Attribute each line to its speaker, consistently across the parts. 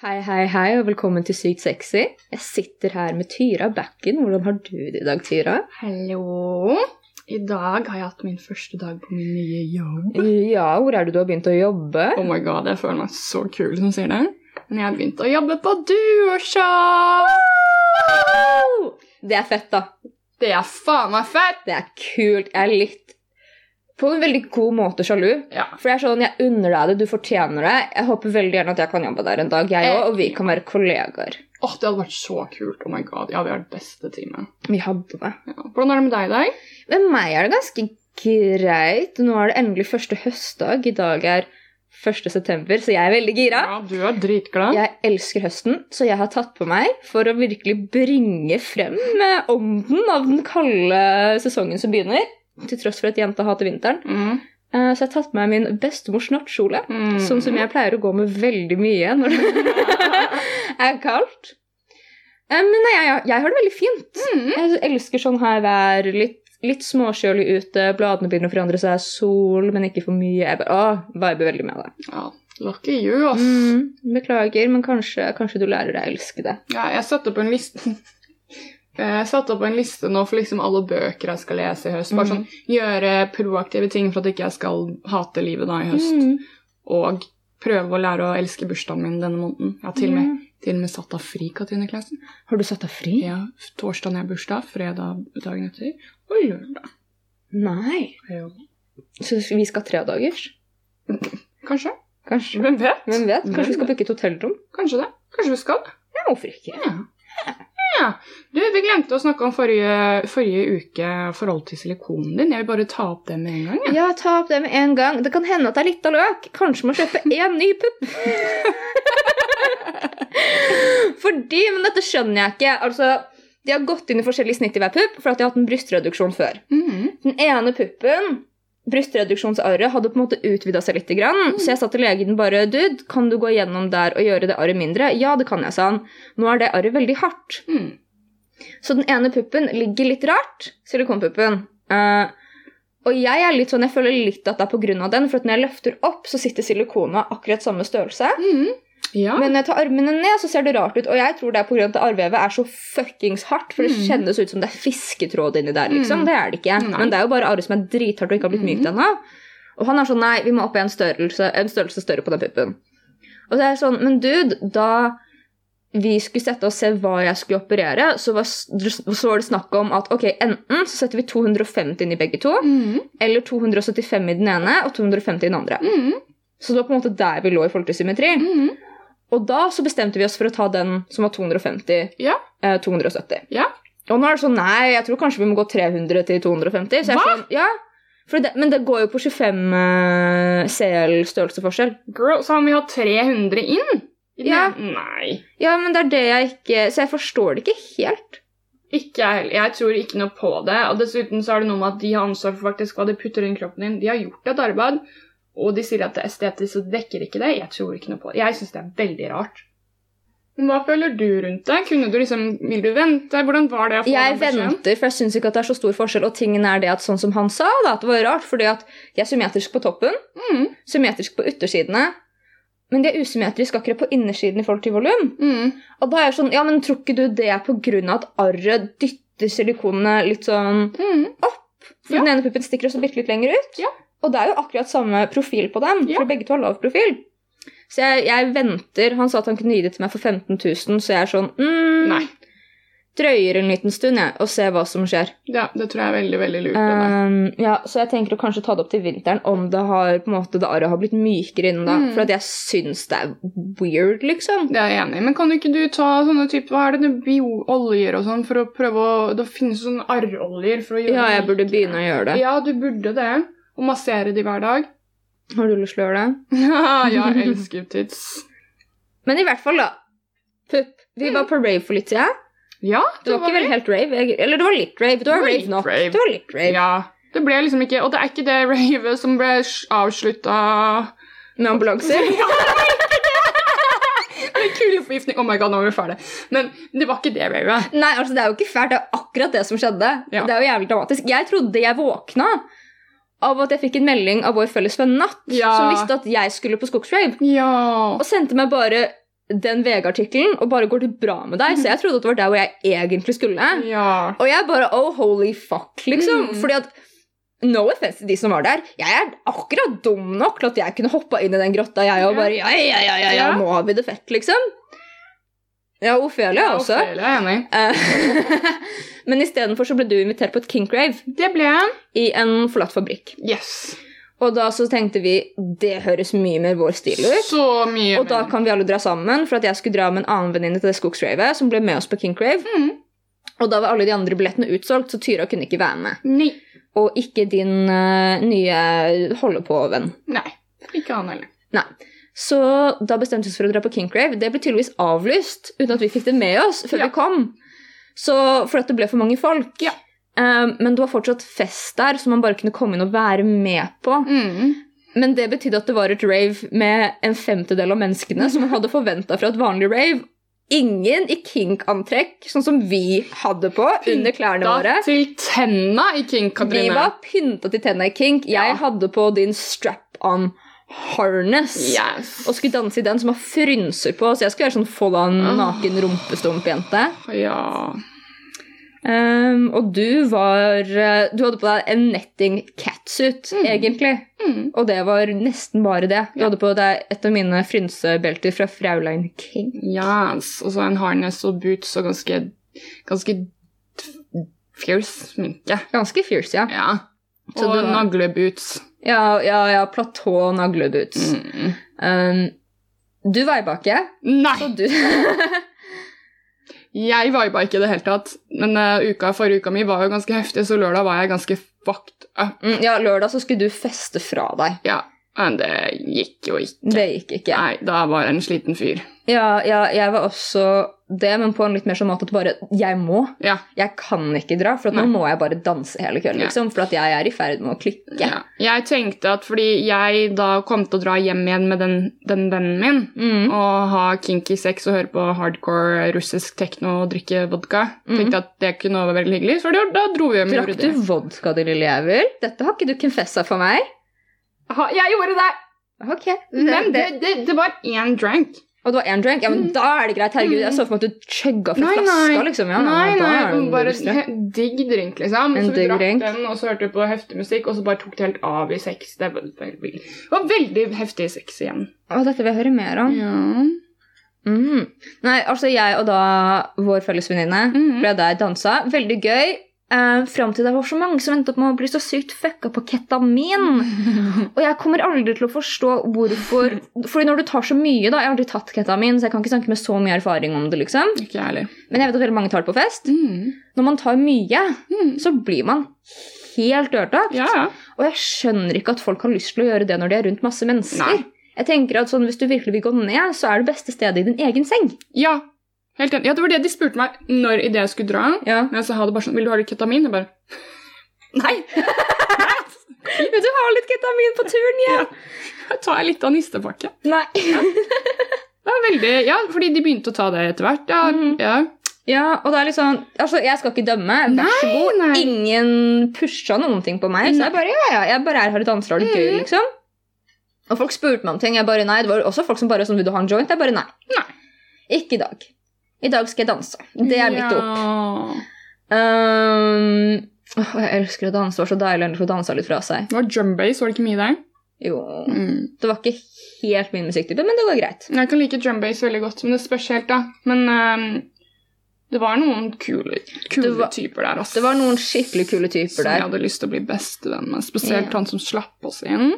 Speaker 1: Hei, hei, hei, og velkommen til Sykt sexy. Jeg sitter her med Tyra Backen. Hvordan har du det i dag, Tyra?
Speaker 2: Hallo. I dag har jeg hatt min første dag på min nye jobb.
Speaker 1: Ja, hvor er det du har begynt å jobbe?
Speaker 2: Oh my god, jeg føler meg så kul som sier det. Men jeg har begynt å jobbe på Duoshow!
Speaker 1: Det er fett, da.
Speaker 2: Det er faen meg fett!
Speaker 1: Det er kult. Jeg er litt På en veldig god måte sjalu.
Speaker 2: Ja.
Speaker 1: For jeg er sånn, jeg unner deg det, du fortjener det. Jeg håper veldig gjerne at jeg kan jobbe der en dag, jeg òg, og vi kan være kollegaer.
Speaker 2: Åh, det hadde vært så kult. Oh my god, ja, vi har det beste teamet.
Speaker 1: Vi hadde det.
Speaker 2: Ja. Hvordan er det med deg i dag?
Speaker 1: Med meg er det ganske greit. Nå er det endelig første høstdag. I dag er 1. september, så jeg er veldig gira.
Speaker 2: du er dritglad.
Speaker 1: Jeg elsker høsten, så jeg har tatt på meg for å virkelig bringe frem eh, ånden av den kalde sesongen som begynner. Til tross for at jenta hater vinteren.
Speaker 2: Mm.
Speaker 1: Eh, Så jeg har tatt på meg min bestemors nattkjole.
Speaker 2: Mm.
Speaker 1: Sånn som jeg pleier å gå med veldig mye når det er kaldt. Eh, Men nei, jeg, jeg har det veldig fint.
Speaker 2: Mm.
Speaker 1: Jeg elsker sånn her vær. Litt, litt småkjølig ute, bladene begynner å forandre seg, sol, men ikke for mye. Jeg bare, å, viber veldig med det.
Speaker 2: Ja, lucky you, ass.
Speaker 1: Mm, beklager, men kanskje, kanskje du lærer deg å elske det.
Speaker 2: Ja, jeg satte opp en liste Jeg satte opp en liste nå for liksom alle bøker jeg skal lese i høst. Bare
Speaker 1: Mhm.
Speaker 2: sånn, Gjøre proaktive ting for at ikke jeg skal hate livet da i høst.
Speaker 1: Mm.
Speaker 2: Og prøve å lære å elske bursdagen min denne måneden. Jeg har til og
Speaker 1: Mm.
Speaker 2: med, til og med satt av fri Katrine-klassen.
Speaker 1: Har du satt deg fri?
Speaker 2: Ja, Torsdag er bursdag, fredag dagen etter og lørdag.
Speaker 1: Nei.
Speaker 2: Ja.
Speaker 1: Så vi skal ha tredagers?
Speaker 2: Kanskje.
Speaker 1: Kanskje.
Speaker 2: Hvem vet?
Speaker 1: Hvem vet? Kanskje vi
Speaker 2: Hvem
Speaker 1: skal booke et hotellrom?
Speaker 2: Kanskje det. Kanskje vi skal.
Speaker 1: Ja, hvorfor ikke?
Speaker 2: Ja. ja. Du, vi glemte å snakke om forrige, forrige uke forhold til silikonen din. Jeg vil bare ta opp det med en gang. jeg.
Speaker 1: Ja, ta opp det med en gang. Det kan hende at det er litt av løk. Kanskje må kjøpe én ny pupp. Fordi, men dette skjønner jeg ikke. Altså, de har gått inn i forskjellige snitt i hver pupp, for at de har hatt en brystreduksjon før.
Speaker 2: Mhm.
Speaker 1: Den ene puppen, brystreduksjonsarret, hadde på en måte utvida seg litt. Grann, Så jeg sa til legen bare Dude, kan du gå gjennom der og gjøre det arret mindre? Ja, det kan jeg, sa han. Nå er det arret veldig hardt.
Speaker 2: Mhm.
Speaker 1: Så den ene puppen ligger litt rart. Silikonpuppen. Eh, og jeg er litt sånn, jeg føler litt at det er pga. den, for at når jeg løfter opp, så sitter silikona akkurat samme størrelse.
Speaker 2: Mhm. Ja.
Speaker 1: Men når jeg tar armene ned, så ser det rart ut. Og jeg tror det er pga. at arrvevet er så fuckings hardt. For det
Speaker 2: Mm.
Speaker 1: kjennes ut som det er fisketråd inni der, liksom.
Speaker 2: Mm.
Speaker 1: Det er det ikke.
Speaker 2: Nei. Mm.
Speaker 1: Men det er jo bare arret som er drithardt og ikke har blitt mykt ennå. Og han er sånn nei, vi må opp i en størrelse, en størrelse større på den puppen. Og så er jeg sånn, men dude, da vi skulle sette oss se hva jeg skulle operere, så var, s- så var det snakk om at ok, enten så setter vi 250 inn i begge to,
Speaker 2: Mhm.
Speaker 1: eller 275 i den ene og 250 i den andre.
Speaker 2: Mhm.
Speaker 1: Så det var på en måte der vi lå i forhold til symmetri.
Speaker 2: Mhm.
Speaker 1: Og da så bestemte vi oss for å ta den som var 250,
Speaker 2: Ja.
Speaker 1: eh, 270.
Speaker 2: Ja.
Speaker 1: Og nå er det sånn, nei, jeg tror kanskje vi må gå 300 til 250. Så jeg er
Speaker 2: Hva?
Speaker 1: Sånn, ja, for det, men det går jo på 25 eh, CL størrelsesforskjell.
Speaker 2: Girl, så han vil ha 300 inn? I den-
Speaker 1: Ja.
Speaker 2: Nei.
Speaker 1: Ja, men det er det jeg ikke, så jeg forstår det ikke helt.
Speaker 2: Ikke jeg heller. Jeg tror ikke noe på det. Og dessuten så er det noe med at de har ansvar for faktisk hva de putter inn i kroppen din. De har gjort et arbeid, og de sier at det er estetisk, så dekker ikke det. Jeg tror ikke noe på det. Jeg syns det er veldig rart. Men hva føler du rundt det? Kunne du liksom, Vil du vente? Hvordan var det å få
Speaker 1: Jeg
Speaker 2: den beskjeden?
Speaker 1: venter, for jeg synes ikke at det er så stor forskjell, og tingen er det at sånn som han sa, da, at det var rart, fordi at jeg er symmetrisk på toppen,
Speaker 2: Mhm.
Speaker 1: symmetrisk på yttersidene, men det er usymmetrisk akkurat på innersiden i forhold til volum.
Speaker 2: Mhm.
Speaker 1: Og da er jeg sånn, ja, men tror ikke du det er på grunn av at arret dytter silikonene litt sånn
Speaker 2: Mhm.
Speaker 1: For
Speaker 2: Ja.
Speaker 1: den ene puppen stikker også bitte litt lenger ut.
Speaker 2: Ja.
Speaker 1: Og det er jo akkurat samme profil på dem,
Speaker 2: Ja.
Speaker 1: for begge to har lav profil. Så jeg, jeg venter. Han sa at han kunne gi det til meg for 15 000, så jeg er sånn mm,
Speaker 2: Nei.
Speaker 1: Drøyer en liten stund, jeg, og ser hva som skjer.
Speaker 2: Ja, det tror jeg er veldig, veldig lurt. av deg.
Speaker 1: Um, ja, så jeg tenker å kanskje ta det opp til vinteren om det har på en måte, det arret har blitt mykere innen da.
Speaker 2: Mm.
Speaker 1: For at jeg syns det er weird, liksom.
Speaker 2: Det er jeg enig i. Men kan du ikke du ta sånne type, hva er det, det biooljer og sånn, for å prøve å Det finnes sånne arroljer for å gjøre
Speaker 1: Ja, jeg burde begynne å gjøre det.
Speaker 2: Ja, du burde det. Og massere de hver dag.
Speaker 1: Har du lyst til å gjøre det?
Speaker 2: ja, jeg elsker tits.
Speaker 1: Men i hvert fall, da. Pupp. Vi var på rave for litt siden.
Speaker 2: Ja,
Speaker 1: Det var ikke vel helt rave. egentlig. Eller det var litt rave. Det var
Speaker 2: Det var
Speaker 1: rave
Speaker 2: litt
Speaker 1: nok.
Speaker 2: rave.
Speaker 1: Det var litt rave.
Speaker 2: Ja. Det ble liksom ikke Og det er ikke det ravet som ble avslutta
Speaker 1: Med ambulanser.
Speaker 2: Med kuleforgiftning. Oh my god, nå er vi ferdig. Men det var ikke det ravet.
Speaker 1: Nei, altså det er jo ikke fælt. Det er jo akkurat det som skjedde.
Speaker 2: Ja.
Speaker 1: Det er jo jævlig dramatisk. Jeg trodde jeg våkna av at jeg fikk en melding av vår felles venn Natt,
Speaker 2: Ja.
Speaker 1: som visste at jeg skulle på skogsrave,
Speaker 2: Ja.
Speaker 1: og sendte meg bare den VG-artikkelen og bare går det bra med deg. Så jeg trodde at det var der hvor jeg egentlig skulle.
Speaker 2: Ja.
Speaker 1: Og jeg bare oh, holy fuck, liksom.
Speaker 2: Mm.
Speaker 1: Fordi at No offense til de som var der. Jeg er akkurat dum nok til at jeg kunne hoppa inn i den grotta, jeg, og
Speaker 2: Ja.
Speaker 1: bare ja, ja, ja, ja, ja,
Speaker 2: Ja.
Speaker 1: nå har vi det fett, liksom. Ja, Ophelia også.
Speaker 2: Ophelia er jeg enig. i.
Speaker 1: Eh, Men istedenfor så ble du invitert på et King Crave
Speaker 2: Det ble jeg.
Speaker 1: i en forlatt fabrikk.
Speaker 2: Yes.
Speaker 1: Og da så tenkte vi det høres mye mer vår stil ut.
Speaker 2: Så mye
Speaker 1: Og da
Speaker 2: mer.
Speaker 1: kan vi alle dra sammen, for at jeg skulle dra med en annen venninne til det skogsravet, som ble med oss på King Crave.
Speaker 2: Mm.
Speaker 1: Og da var alle de andre billettene utsolgt, så Tyra kunne ikke være med.
Speaker 2: Nei.
Speaker 1: Og ikke din eh, nye holde-på-venn.
Speaker 2: Nei. Ikke han heller.
Speaker 1: Så da bestemte vi oss for å dra på King Crave. Det ble tydeligvis avlyst uten at vi fikk det med oss før
Speaker 2: Ja.
Speaker 1: vi kom. Så, for at det ble for mange folk.
Speaker 2: Ja.
Speaker 1: Eh, men det var fortsatt fest der, som man bare kunne komme inn og være med på.
Speaker 2: Mm.
Speaker 1: Men det betydde at det var et rave med en femtedel av menneskene som man hadde forventa fra et vanlig rave. Ingen i kink-antrekk, sånn som vi hadde på under klærne våre.
Speaker 2: Da til tenna i King
Speaker 1: Vi
Speaker 2: Katrine.
Speaker 1: var pynta til tenna i kink. Jeg
Speaker 2: Ja.
Speaker 1: hadde på din strap-on harness.
Speaker 2: Yes.
Speaker 1: Og skulle danse i den som har frynser på, så jeg skulle være sånn full on
Speaker 2: Åh.
Speaker 1: naken rumpestump-jente.
Speaker 2: Ja.
Speaker 1: Ehm, og du var eh, Du hadde på deg en netting catsuit,
Speaker 2: Mm.
Speaker 1: egentlig.
Speaker 2: Mm.
Speaker 1: Og det var nesten bare det. Du
Speaker 2: Ja.
Speaker 1: hadde på deg et av mine frynsebelter fra Fraulein King.
Speaker 2: Yes. Og så en harness og boots og ganske, ganske fierce sminke.
Speaker 1: Ganske fierce, ja.
Speaker 2: Ja.
Speaker 1: Så
Speaker 2: og
Speaker 1: du var-
Speaker 2: nagleboots.
Speaker 1: Ja, ja, ja platå og nagleboots.
Speaker 2: Mm.
Speaker 1: Um, du veiba ikke,
Speaker 2: Nei!
Speaker 1: så du
Speaker 2: Jeg viba ikke i det hele tatt. Men eh, uka forrige uka mi var jo ganske heftig, så lørdag var jeg ganske fucked up.
Speaker 1: Mm, Ja, lørdag så skulle du feste fra deg.
Speaker 2: Ja, Men det gikk jo ikke.
Speaker 1: Det gikk ikke.
Speaker 2: Nei, da var jeg en sliten fyr.
Speaker 1: Ja, ja, jeg var også det, men på en litt mer sånn måte at bare Jeg må.
Speaker 2: Ja.
Speaker 1: Jeg kan ikke dra, for at nå
Speaker 2: Nei.
Speaker 1: må jeg bare danse hele kvelden,
Speaker 2: Ja.
Speaker 1: liksom. For at jeg er i ferd med å klikke.
Speaker 2: Ja. Jeg tenkte at fordi jeg da kom til å dra hjem igjen med den, den vennen min,
Speaker 1: Mm.
Speaker 2: og ha kinky sex og høre på hardcore russisk tekno og drikke vodka,
Speaker 1: Mhm.
Speaker 2: tenkte at det kunne være veldig hyggelig, så da, da dro vi hjem og
Speaker 1: Drakk
Speaker 2: gjorde
Speaker 1: du
Speaker 2: det.
Speaker 1: vodka, din lille jævel? Dette har ikke du confessa for meg.
Speaker 2: Ha, jeg gjorde det!
Speaker 1: Ok.
Speaker 2: Men det, det, det var én drank.
Speaker 1: Og det var én drink? Ja, men
Speaker 2: Mm.
Speaker 1: da er det greit. Herregud, jeg så for meg at du chugga fra
Speaker 2: Nei,
Speaker 1: flaska,
Speaker 2: nei.
Speaker 1: liksom. Ja,
Speaker 2: nei,
Speaker 1: da er
Speaker 2: nei,
Speaker 1: det
Speaker 2: bare
Speaker 1: business.
Speaker 2: he- digg drink, liksom.
Speaker 1: En
Speaker 2: så vi
Speaker 1: digg
Speaker 2: drakk
Speaker 1: drink.
Speaker 2: den, og så hørte vi på heftig musikk, og så bare tok det helt av i sex. Det var, veldig, det var veldig heftig sex igjen.
Speaker 1: Å, dette vil jeg høre mer om.
Speaker 2: Ja.
Speaker 1: Mm. Nei, altså, jeg og da vår felles venninne
Speaker 2: Mhm.
Speaker 1: ble der dansa. Veldig gøy. Eh, Fram til det var så mange som endte opp med å bli så sykt fucka på ketamin. Og jeg kommer aldri til å forstå hvorfor Fordi når du tar så mye, da Jeg har aldri tatt ketamin, så jeg kan ikke snakke med så mye erfaring om det, liksom.
Speaker 2: Ikke jeg heller.
Speaker 1: Men jeg vet at veldig mange tar det på fest.
Speaker 2: Mm.
Speaker 1: Når man tar mye,
Speaker 2: Mm.
Speaker 1: så blir man helt ødelagt.
Speaker 2: Ja, ja.
Speaker 1: Og jeg skjønner ikke at folk har lyst til å gjøre det når de er rundt masse mennesker.
Speaker 2: Nei.
Speaker 1: Jeg tenker at sånn, Hvis du virkelig vil gå ned, så er det beste stedet i din egen seng.
Speaker 2: ja. Helt enig. Ja, det var det de spurte meg når i det jeg skulle dra.
Speaker 1: Ja.
Speaker 2: Men jeg sa det bare sånn Vil du ha litt ketamin? Jeg bare
Speaker 1: Nei! Vil du ha litt ketamin på turen hjem?
Speaker 2: Jeg tar litt av nistepakke.
Speaker 1: Nei.
Speaker 2: Det var veldig Ja, fordi de begynte å ta det etter hvert. Ja.
Speaker 1: Mhm.
Speaker 2: ja.
Speaker 1: Ja, og det er litt sånn Altså, jeg skal ikke dømme. Vær så
Speaker 2: Nei,
Speaker 1: god.
Speaker 2: nei.
Speaker 1: Ingen pusha noen ting på meg. Så jeg
Speaker 2: Nei.
Speaker 1: bare ja, ja, jeg bare er her og danser og har det gøy,
Speaker 2: Mhm.
Speaker 1: liksom. Og folk spurte meg om ting. Jeg bare nei. Det var også folk som bare sånn Vil du ha en joint? Jeg bare nei.
Speaker 2: Nei.
Speaker 1: Ikke i dag. I dag skal jeg danse. Det er mitt opp.
Speaker 2: Ja.
Speaker 1: Ehm, åh, jeg elsker å danse. Det var så deilig å få dansa litt fra seg.
Speaker 2: Det var drumbase, var det ikke mye der?
Speaker 1: Jo,
Speaker 2: Mm.
Speaker 1: Det var ikke helt min musikktype, men det går greit.
Speaker 2: Jeg kan like drumbase veldig godt, men det spørs helt, da. Men ehm, det var noen kule, kule
Speaker 1: Det var-
Speaker 2: typer der, ass.
Speaker 1: Det var noen skikkelig kule typer
Speaker 2: som jeg
Speaker 1: der.
Speaker 2: hadde lyst til å bli bestevenn med. Spesielt
Speaker 1: Ja.
Speaker 2: han som slapp oss inn.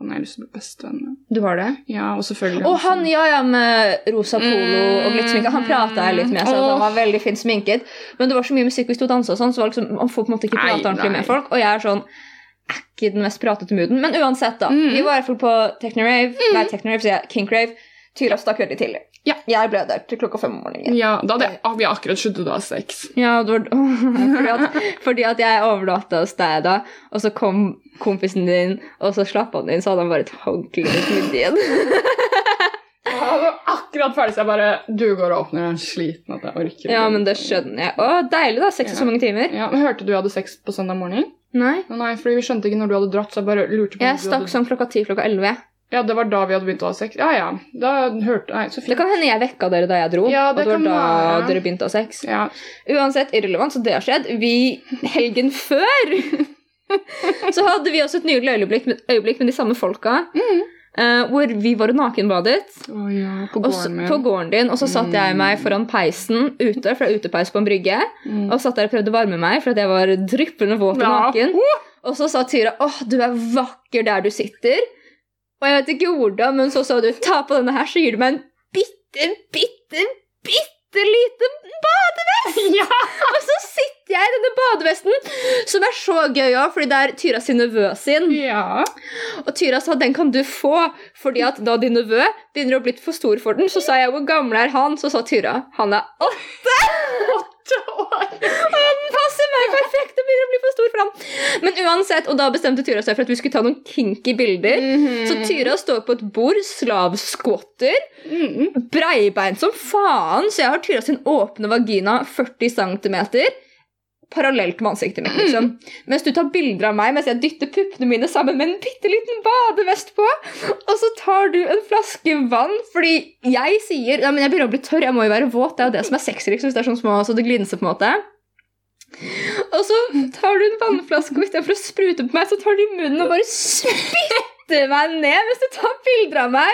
Speaker 2: Han har jeg lyst til å bli bestevenn med.
Speaker 1: Du har det?
Speaker 2: Ja, og selvfølgelig
Speaker 1: Og han,
Speaker 2: som-
Speaker 1: ja ja, med rosa polo og litt sminke. Han prata jeg litt med, så han
Speaker 2: Åh.
Speaker 1: var veldig fint sminket. Men det var så mye musikk, vi sto og dansa og sånn, så var det liksom, man får på en måte ikke
Speaker 2: Nei,
Speaker 1: prate ordentlig
Speaker 2: nei.
Speaker 1: med folk. Og jeg er sånn er ikke den mest pratete mooden. Men uansett, da.
Speaker 2: Mm.
Speaker 1: Vi var i hvert fall på Technorave. Nei, Technorave, sier jeg. Kinkrave. Tyra stakk veldig tidlig.
Speaker 2: Ja.
Speaker 1: Jeg ble der til klokka fem om morgenen.
Speaker 2: Ja, da hadde jeg, ah, vi har akkurat sluttet å ha sex.
Speaker 1: Ja, det var, fordi, at, fordi at jeg overnatta hos deg da, og så kom kompisen din, og så slapp han inn, så hadde han bare et håndkle rundt midjen.
Speaker 2: Ja, det var akkurat ferdig, så jeg bare Du går og åpner, jeg er sliten at jeg orker.
Speaker 1: Ja, men det skjønner jeg. Å, deilig, da. Seks og så mange timer.
Speaker 2: Ja, men Hørte du hadde sex på søndag morgen?
Speaker 1: Nei.
Speaker 2: Nei, fordi vi skjønte ikke når du hadde dratt, så jeg bare lurte på om
Speaker 1: Jeg
Speaker 2: du
Speaker 1: stakk
Speaker 2: hadde...
Speaker 1: sånn klokka ti, klokka elleve.
Speaker 2: Ja, det var da vi hadde begynt å ha sex. Ja, ja. Da hørte Nei, så
Speaker 1: Det
Speaker 2: fint.
Speaker 1: kan hende jeg vekka dere da jeg dro,
Speaker 2: Ja,
Speaker 1: og
Speaker 2: det
Speaker 1: det var
Speaker 2: kan
Speaker 1: da
Speaker 2: være.
Speaker 1: dere begynte å ha sex.
Speaker 2: Ja.
Speaker 1: Uansett irrelevant, så det har skjedd. Vi, helgen før, så hadde vi også et nydelig øyeblikk, med- øyeblikk med de samme folka.
Speaker 2: Mm.
Speaker 1: eh, hvor vi var nakenbadet
Speaker 2: Å ja. Mm. På
Speaker 1: og så-
Speaker 2: gården min.
Speaker 1: på gården din. Og så satt jeg meg foran peisen ute, for det er utepeis på en brygge.
Speaker 2: Mm.
Speaker 1: Og satt der og prøvde å varme meg, for at jeg var dryppende våt og
Speaker 2: Ja.
Speaker 1: naken. Og så sa Tyra åh, du er vakker der du sitter. Og jeg vet ikke hvordan, men så sa du ta på denne her, så gir du meg en bitte, bitte, bitte liten
Speaker 2: Ja!
Speaker 1: og så sitter jeg i denne badevesten, som er så gøy òg, fordi det er Tyra sin nevø sin.
Speaker 2: ja.
Speaker 1: Og Tyra sa den kan du få, fordi at da din nevø begynner å bli for stor for den, så sa jeg hvor gammel er han? Så sa Tyra han er åtte. Han passer meg perfekt og begynner å bli for stor for han. Men uansett, og da bestemte Tyra seg for at vi skulle ta noen kinky bilder.
Speaker 2: Mm.
Speaker 1: Så Tyra står på et bord, slavskvotter,
Speaker 2: Mhm.
Speaker 1: breibeint som faen, så jeg har Tyra sin åpne vagina 40 cm parallelt med ansiktet mitt. liksom. Mens du tar bilder av meg mens jeg dytter puppene mine sammen med en bitte liten badevest på, og så tar du en flaske vann fordi jeg sier ja, men jeg begynner å bli tørr, jeg må jo være våt. Det er jo det som er sexy, liksom, hvis det er sånn små, så det glinser på en måte. Og så tar du en vannflaske, og istedenfor å sprute på meg, så tar du i munnen og bare spytter meg ned mens du tar bilder av meg.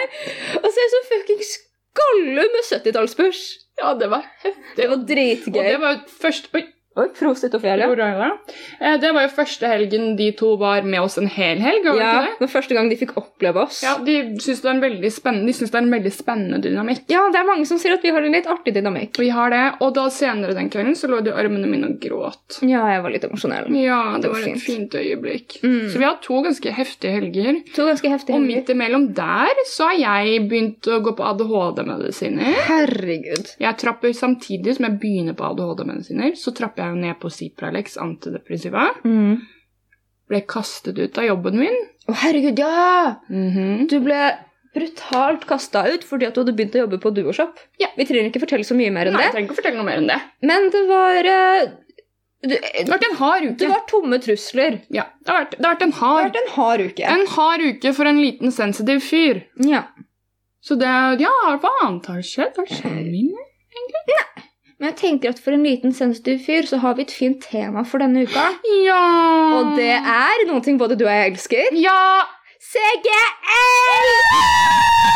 Speaker 1: Og så er jeg så fuckings gollum med 70-tallspurs.
Speaker 2: Ja, det var
Speaker 1: Det var
Speaker 2: Og det
Speaker 1: dritgøy.
Speaker 2: var jo første Oi,
Speaker 1: Oi, Prosit og
Speaker 2: det
Speaker 1: flere.
Speaker 2: var Raila. Eh, Det var jo første helgen de to var med oss en hel helg, var det
Speaker 1: Ja,
Speaker 2: ikke det?
Speaker 1: den første gang de fikk oppleve oss.
Speaker 2: Ja, de syns det er en veldig spennende, de synes det er en veldig spennende dynamikk.
Speaker 1: Ja, det er mange som sier at vi har en litt artig dynamikk.
Speaker 2: Vi har det, og da senere den kvelden så lå de i armene mine og gråt.
Speaker 1: Ja, jeg var litt emosjonell.
Speaker 2: Ja,
Speaker 1: Det
Speaker 2: det
Speaker 1: var
Speaker 2: var et
Speaker 1: fint.
Speaker 2: fint øyeblikk.
Speaker 1: Mm.
Speaker 2: Så vi har to ganske heftige helger.
Speaker 1: To ganske heftige
Speaker 2: Og
Speaker 1: helger.
Speaker 2: midt imellom der så har jeg begynt å gå på ADHD-medisiner.
Speaker 1: Herregud.
Speaker 2: Jeg trapper Samtidig som jeg begynner på ADHD-medisiner, så trapper jeg jo ned på Cipralex antidepressiva.
Speaker 1: Å,
Speaker 2: Mm. Ble kastet ut av jobben min.
Speaker 1: herregud, ja! Du ble brutalt kasta ut fordi at du hadde begynt å jobbe på Duoshop.
Speaker 2: Ja.
Speaker 1: Vi trenger ikke fortelle så mye mer enn
Speaker 2: Nei, jeg
Speaker 1: det.
Speaker 2: trenger ikke fortelle noe mer enn det.
Speaker 1: Men det var eh, du, eh,
Speaker 2: Det har vært en hard
Speaker 1: det
Speaker 2: uke.
Speaker 1: var tomme trusler.
Speaker 2: Ja, det har vært, det har vært en
Speaker 1: Det
Speaker 2: hard
Speaker 1: har vært en hard uke.
Speaker 2: En hard uke for en liten sensitiv fyr.
Speaker 1: Ja.
Speaker 2: Så det Ja, hva annet har skjedd? Har skjedd mine?
Speaker 1: Men jeg tenker at for en liten sensitiv fyr så har vi et fint tema for denne uka.
Speaker 2: Ja
Speaker 1: Og det er noen ting både du og jeg elsker.
Speaker 2: Ja!
Speaker 1: CGL!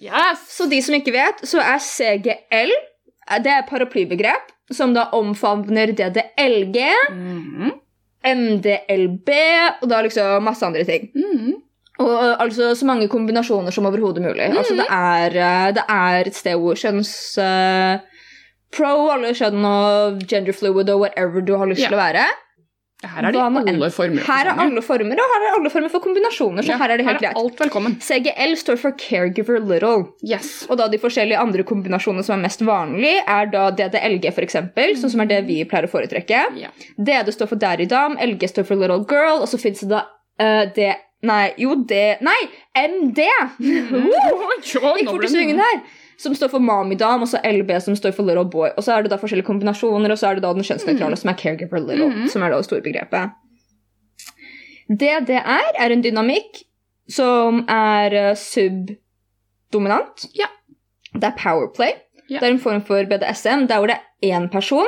Speaker 2: Yes!
Speaker 1: Så de som ikke vet, så er CGL eh, det er paraplybegrep som da omfavner DDLG,
Speaker 2: Mhm.
Speaker 1: MDLB og da liksom masse andre ting.
Speaker 2: Mhm.
Speaker 1: Og ø, altså så mange kombinasjoner som overhodet mulig.
Speaker 2: Mm.
Speaker 1: Altså det er, ø, det er et sted hvor kjønns... ø, Pro, alle kjønn og gender fluid og whatever du har lyst
Speaker 2: Ja.
Speaker 1: til å være.
Speaker 2: Her er det
Speaker 1: Hva med
Speaker 2: alle former. for
Speaker 1: Her er
Speaker 2: sanger.
Speaker 1: alle former, og her er alle former for kombinasjoner. så
Speaker 2: Ja,
Speaker 1: her er det helt greit.
Speaker 2: alt velkommen.
Speaker 1: CGL står for Caregiver Little.
Speaker 2: Yes.
Speaker 1: Og da de forskjellige andre kombinasjonene som er mest vanlig, er da DDLG, for eksempel, sånn som er det vi pleier å foretrekke.
Speaker 2: Ja.
Speaker 1: DD står for Daddy Dam, LG står for Little Girl, og så fins det da eh, D... Nei, jo, D Nei, MD! Woo!
Speaker 2: Oi, ja,
Speaker 1: Gikk
Speaker 2: nå
Speaker 1: fort
Speaker 2: ble
Speaker 1: i svingen
Speaker 2: det-
Speaker 1: her. Som står for Mommy Dam, og så LB, som står for Little Boy. Og så er det da forskjellige kombinasjoner, og så er det da den kjønnsnøytrale,
Speaker 2: Mm.
Speaker 1: som er Caregiver Little,
Speaker 2: Mhm.
Speaker 1: som er da det store begrepet. Det det er, er en dynamikk som er eh, subdominant.
Speaker 2: Ja.
Speaker 1: Det er powerplay.
Speaker 2: Ja.
Speaker 1: Det er en form for BDSM der hvor det er én person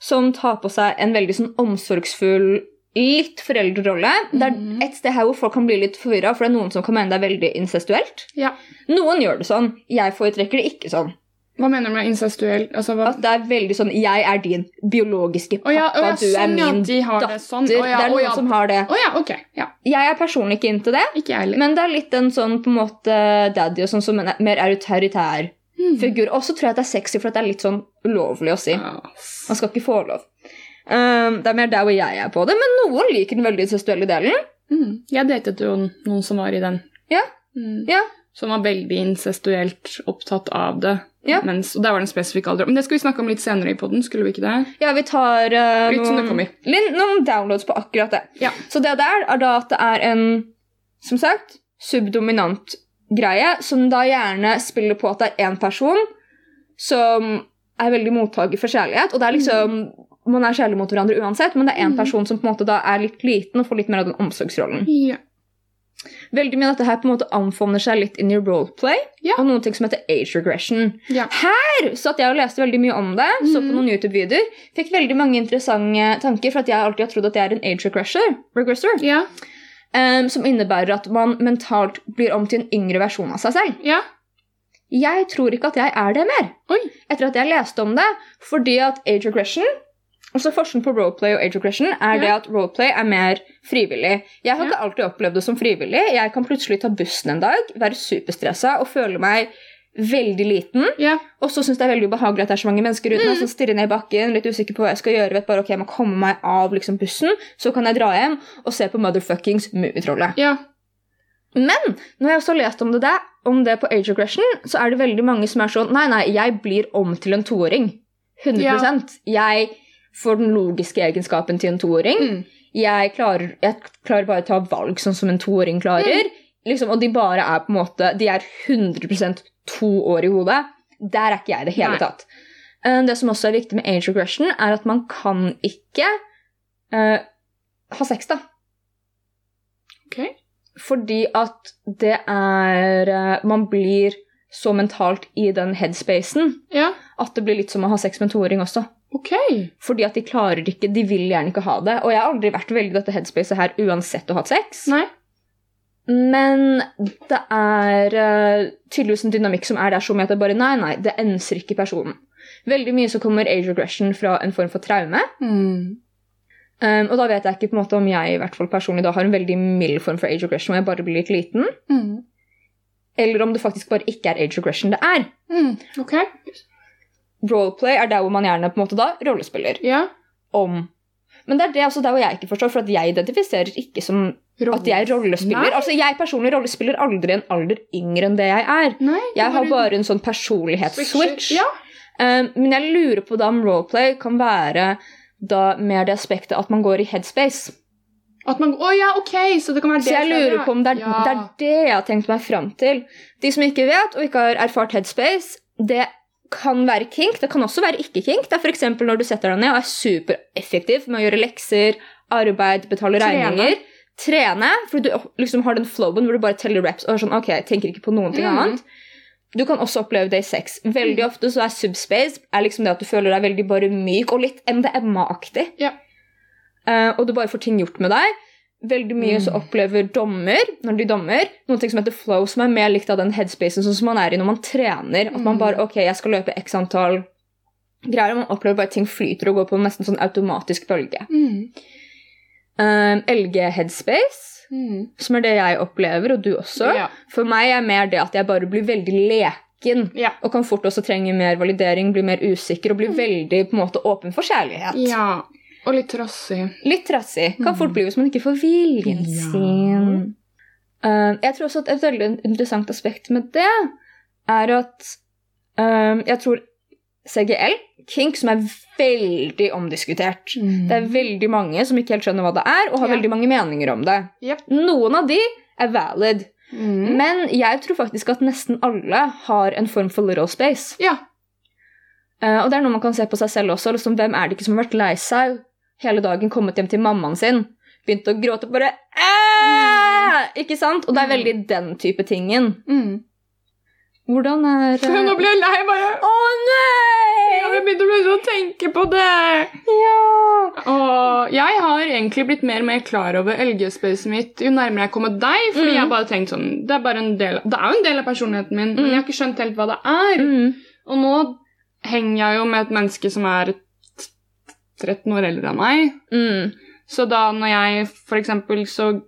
Speaker 1: som tar på seg en veldig sånn omsorgsfull, litt foreldrerolle. Det
Speaker 2: Mhm.
Speaker 1: er et sted her hvor folk kan bli litt forvirra, for det er noen som kan mene det er veldig incestuelt.
Speaker 2: Ja.
Speaker 1: Noen gjør det sånn, jeg foretrekker det ikke sånn.
Speaker 2: Hva mener du med incestuell? Altså, hva...
Speaker 1: At det er veldig sånn, jeg er din biologiske
Speaker 2: Å
Speaker 1: pappa,
Speaker 2: ja, å ja,
Speaker 1: du er
Speaker 2: sånn, ja,
Speaker 1: min
Speaker 2: de har
Speaker 1: datter.
Speaker 2: det sånn. Å
Speaker 1: Det
Speaker 2: ja,
Speaker 1: er
Speaker 2: å
Speaker 1: noen
Speaker 2: ja.
Speaker 1: som har det.
Speaker 2: Å ja, ok. Ja.
Speaker 1: Jeg er personlig ikke inntil det,
Speaker 2: Ikke jeg heller.
Speaker 1: men det er litt en sånn på en måte daddy og sånn som en mer autoritær
Speaker 2: Mhm.
Speaker 1: figur. Også tror jeg at det er sexy, for at det er litt sånn ulovlig å si.
Speaker 2: Ja.
Speaker 1: Man skal ikke få lov. Um, det er mer der hvor jeg er på det, men noen liker den veldig incestuelle delen.
Speaker 2: Mm. Jeg datet jo noen som var i den.
Speaker 1: Ja.
Speaker 2: Mm.
Speaker 1: Ja.
Speaker 2: Som var veldig incestuelt opptatt av det.
Speaker 1: Ja.
Speaker 2: Mens, og der var det en spesifikk alder. Men det skal vi snakke om litt senere i podden, skulle vi ikke det?
Speaker 1: Ja, vi tar uh,
Speaker 2: Litt som det
Speaker 1: noen,
Speaker 2: kommer.
Speaker 1: litt- noen downloads på akkurat det.
Speaker 2: Ja.
Speaker 1: Så det der er da at det er en, som sagt, subdominant greie, som da gjerne spiller på at det er én person som er veldig mottaker for kjærlighet, og det er liksom man er kjærlig mot hverandre uansett, men det er én
Speaker 2: Mm.
Speaker 1: person som på en måte da er litt liten og får litt mer av den omsorgsrollen.
Speaker 2: Ja.
Speaker 1: Veldig mye av dette her på en måte anfavner seg litt inn i roleplay.
Speaker 2: Ja.
Speaker 1: Og noen ting som heter age regression.
Speaker 2: Ja.
Speaker 1: Her satt jeg og leste veldig mye om det. Så på
Speaker 2: Mhm.
Speaker 1: noen YouTube-videoer. Fikk veldig mange interessante tanker, for at jeg alltid har trodd at jeg er en age regressor. regressor
Speaker 2: Ja.
Speaker 1: em, som innebærer at man mentalt blir om til en yngre versjon av seg selv.
Speaker 2: Ja.
Speaker 1: Jeg tror ikke at jeg er det mer.
Speaker 2: Oi.
Speaker 1: Etter at jeg leste om det. Fordi at age regression Altså Forskjellen på roleplay og age regression er
Speaker 2: Ja.
Speaker 1: det at roleplay er mer frivillig. Jeg har
Speaker 2: Ja.
Speaker 1: ikke alltid opplevd det som frivillig. Jeg kan plutselig ta bussen en dag, være superstressa og føle meg veldig liten.
Speaker 2: Ja. Mm.
Speaker 1: Og så syns det er veldig ubehagelig at det er så mange mennesker rundt meg. som stirrer ned i bakken, litt usikker på hva jeg skal gjøre. Vet bare, ok, jeg må komme meg av liksom, bussen, så kan jeg dra hjem og se på motherfuckings Mummitrollet.
Speaker 2: Ja.
Speaker 1: Men når jeg også har lest om det, der, om det på age regression, så er det veldig mange som er sånn Nei, nei, jeg blir om til en toåring. 100 Jeg får den logiske egenskapen til en toåring.
Speaker 2: Mm.
Speaker 1: Jeg, klarer, jeg klarer bare å ta valg sånn som en toåring klarer. Liksom, og de bare er på en måte De er 100 to år i hodet. Der er ikke jeg i det hele
Speaker 2: Nei.
Speaker 1: tatt. Eh, Det som også er viktig med age regression, er at man kan ikke eh, ha sex, da.
Speaker 2: Ok.
Speaker 1: Fordi at det er eh, Man blir så mentalt i den headspacen
Speaker 2: Ja.
Speaker 1: at det blir litt som å ha sex med en toåring også.
Speaker 2: Ok.
Speaker 1: Fordi at de klarer det ikke, de vil gjerne ikke ha det. Og jeg har aldri vært veldig i dette headspacet her uansett å ha hatt sex.
Speaker 2: Nei.
Speaker 1: Men det er eh, tydeligvis en dynamikk som er der som at det bare Nei, nei, det enser ikke personen. Veldig mye så kommer age regression fra en form for traume.
Speaker 2: Mm.
Speaker 1: Um, og da vet jeg ikke på en måte om jeg i hvert fall personlig da har en veldig mild form for age regression hvor jeg bare blir litt liten.
Speaker 2: Mm.
Speaker 1: eller om det faktisk bare ikke er age regression det er.
Speaker 2: Mm. Ok.
Speaker 1: Roleplay er der hvor man gjerne på en måte da rollespiller
Speaker 2: Ja.
Speaker 1: om. Men det er det også der hvor jeg ikke forstår, for at jeg identifiserer ikke som at jeg rollespiller.
Speaker 2: Nei.
Speaker 1: Altså, Jeg personlig rollespiller aldri en alder yngre enn det jeg er.
Speaker 2: Nei. det
Speaker 1: Jeg har
Speaker 2: en
Speaker 1: bare en sånn personlighetsswitch.
Speaker 2: switcher. Ja.
Speaker 1: Um, men jeg lurer på da om roleplay kan være da mer det aspektet at man går i headspace.
Speaker 2: At man Å ja, ok! Så det kan være det
Speaker 1: Så jeg
Speaker 2: stedet,
Speaker 1: lurer
Speaker 2: ja.
Speaker 1: på om det er,
Speaker 2: ja.
Speaker 1: det er det jeg har tenkt meg fram til. De som ikke vet, og ikke har erfart headspace, det kan være kink. Det kan også være ikke-kink. Det er f.eks. når du setter deg ned og er supereffektiv med å gjøre lekser, arbeid, betale
Speaker 2: Trene.
Speaker 1: regninger. Trene, for du liksom har den flowen hvor du bare teller reps og er sånn, ok, tenker ikke på noen ting
Speaker 2: Mm.
Speaker 1: annet. Du kan også oppleve det i sex. Veldig ofte så er subspace er liksom det at du føler deg veldig bare myk og litt MDMA-aktig.
Speaker 2: Ja.
Speaker 1: Eh, og du bare får ting gjort med deg. Veldig mye
Speaker 2: Mm.
Speaker 1: så opplever dommer, når de dommer, noen ting som heter flow, som er mer likt av den headspacen sånn som man er i når man trener. At man
Speaker 2: Mm.
Speaker 1: bare Ok, jeg skal løpe x antall greier. og Man opplever bare at ting flyter og går på en nesten sånn automatisk bølge.
Speaker 2: mm.
Speaker 1: Eh, LG headspace,
Speaker 2: Mm.
Speaker 1: som er det jeg opplever, og du også.
Speaker 2: Ja.
Speaker 1: For meg er mer det at jeg bare blir veldig leken.
Speaker 2: Ja.
Speaker 1: Og kan fort også trenge mer validering, bli mer usikker og bli
Speaker 2: Mm.
Speaker 1: veldig på en måte åpen for kjærlighet.
Speaker 2: ja. Og litt trassig.
Speaker 1: Litt trassig. Kan fort
Speaker 2: Mm.
Speaker 1: bli hvis man ikke får viljen
Speaker 2: Ja.
Speaker 1: sin. Eh, jeg tror også at et veldig interessant aspekt med det er at eh, jeg tror CGL, kink, som er veldig omdiskutert Det er veldig mange som ikke helt skjønner hva det er, og har
Speaker 2: Mm. Ja.
Speaker 1: veldig mange meninger om det.
Speaker 2: Jep.
Speaker 1: Noen av de er valid.
Speaker 2: mm.
Speaker 1: Men jeg tror faktisk at nesten alle har en form for little space.
Speaker 2: Ja.
Speaker 1: Eh, og det er noe man kan se på seg selv også. Liksom, hvem er det ikke som har vært lei seg hele dagen, kommet hjem til mammaen sin, begynt å gråte og bare «Æ!» Ikke sant? Og det er
Speaker 2: Mm.
Speaker 1: veldig den type tingen.
Speaker 2: Mm.
Speaker 1: Hvordan er eh,
Speaker 2: Nå ble jeg lei bare.
Speaker 1: Å nei!
Speaker 2: Jeg begynte å begynne å tenke på det.
Speaker 1: Ja!
Speaker 2: Og jeg har egentlig blitt mer og mer klar over LG-spacet mitt jo nærmere jeg kommer deg. Fordi
Speaker 1: Mm.
Speaker 2: jeg har bare tenkt sånn, det er, bare en del, det er jo en del av personligheten min, men
Speaker 1: Mm.
Speaker 2: jeg har ikke skjønt helt hva det er.
Speaker 1: Mm.
Speaker 2: Og nå henger jeg jo med et menneske som er t- 13 år eldre enn meg.
Speaker 1: Mm.
Speaker 2: Så da når jeg for eksempel så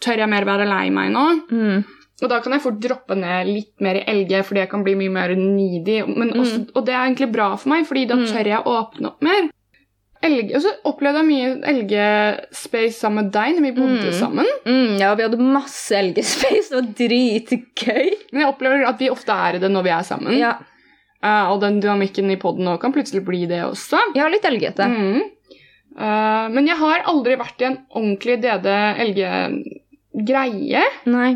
Speaker 2: tør jeg mer være lei meg nå.
Speaker 1: Mm.
Speaker 2: Og da kan jeg fort droppe ned litt mer i LG, fordi jeg kan bli mye mer needy. Men også, Og det er egentlig bra for meg, fordi da
Speaker 1: Mm.
Speaker 2: tør jeg å åpne opp mer. LG, og så opplevde jeg mye LG-space sammen med deg når vi
Speaker 1: Mm.
Speaker 2: bodde sammen.
Speaker 1: Mm. Ja, vi hadde masse LG-space. Det var dritgøy.
Speaker 2: Men jeg opplever at vi ofte er i det når vi er sammen.
Speaker 1: Ja,
Speaker 2: Eh, og den dynamikken i poden nå kan plutselig bli det også.
Speaker 1: jeg har litt LG-ete.
Speaker 2: Mm. Eh, men jeg har aldri vært i en ordentlig DD-LG-greie.
Speaker 1: Nei.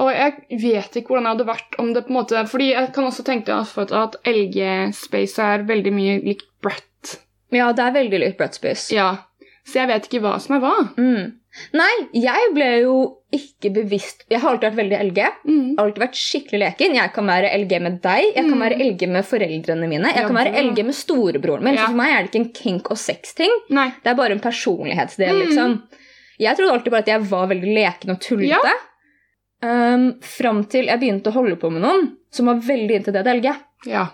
Speaker 2: Og jeg vet ikke hvordan det hadde vært om det på en måte Fordi jeg kan også tenke at at LG Space er veldig mye likt Brett.
Speaker 1: Ja, det er veldig litt Brett-space.
Speaker 2: Ja. Så jeg vet ikke hva som er hva.
Speaker 1: Mm. Nei, jeg ble jo ikke bevisst Jeg har alltid vært veldig LG. Jeg
Speaker 2: Mm.
Speaker 1: har alltid vært skikkelig leken. Jeg kan være LG med deg, jeg kan
Speaker 2: Mm.
Speaker 1: være LG med foreldrene mine, jeg
Speaker 2: Ja,
Speaker 1: kan være
Speaker 2: bra.
Speaker 1: LG med storebroren min.
Speaker 2: Ja.
Speaker 1: Så for meg er det ikke en kink og sex-ting.
Speaker 2: Nei.
Speaker 1: Det er bare en personlighetsdel,
Speaker 2: Mm.
Speaker 1: liksom. Jeg trodde alltid bare at jeg var veldig leken og tullete.
Speaker 2: Ja.
Speaker 1: Um, Fram til jeg begynte å holde på med noen som var veldig inntil det DLG.
Speaker 2: Ja.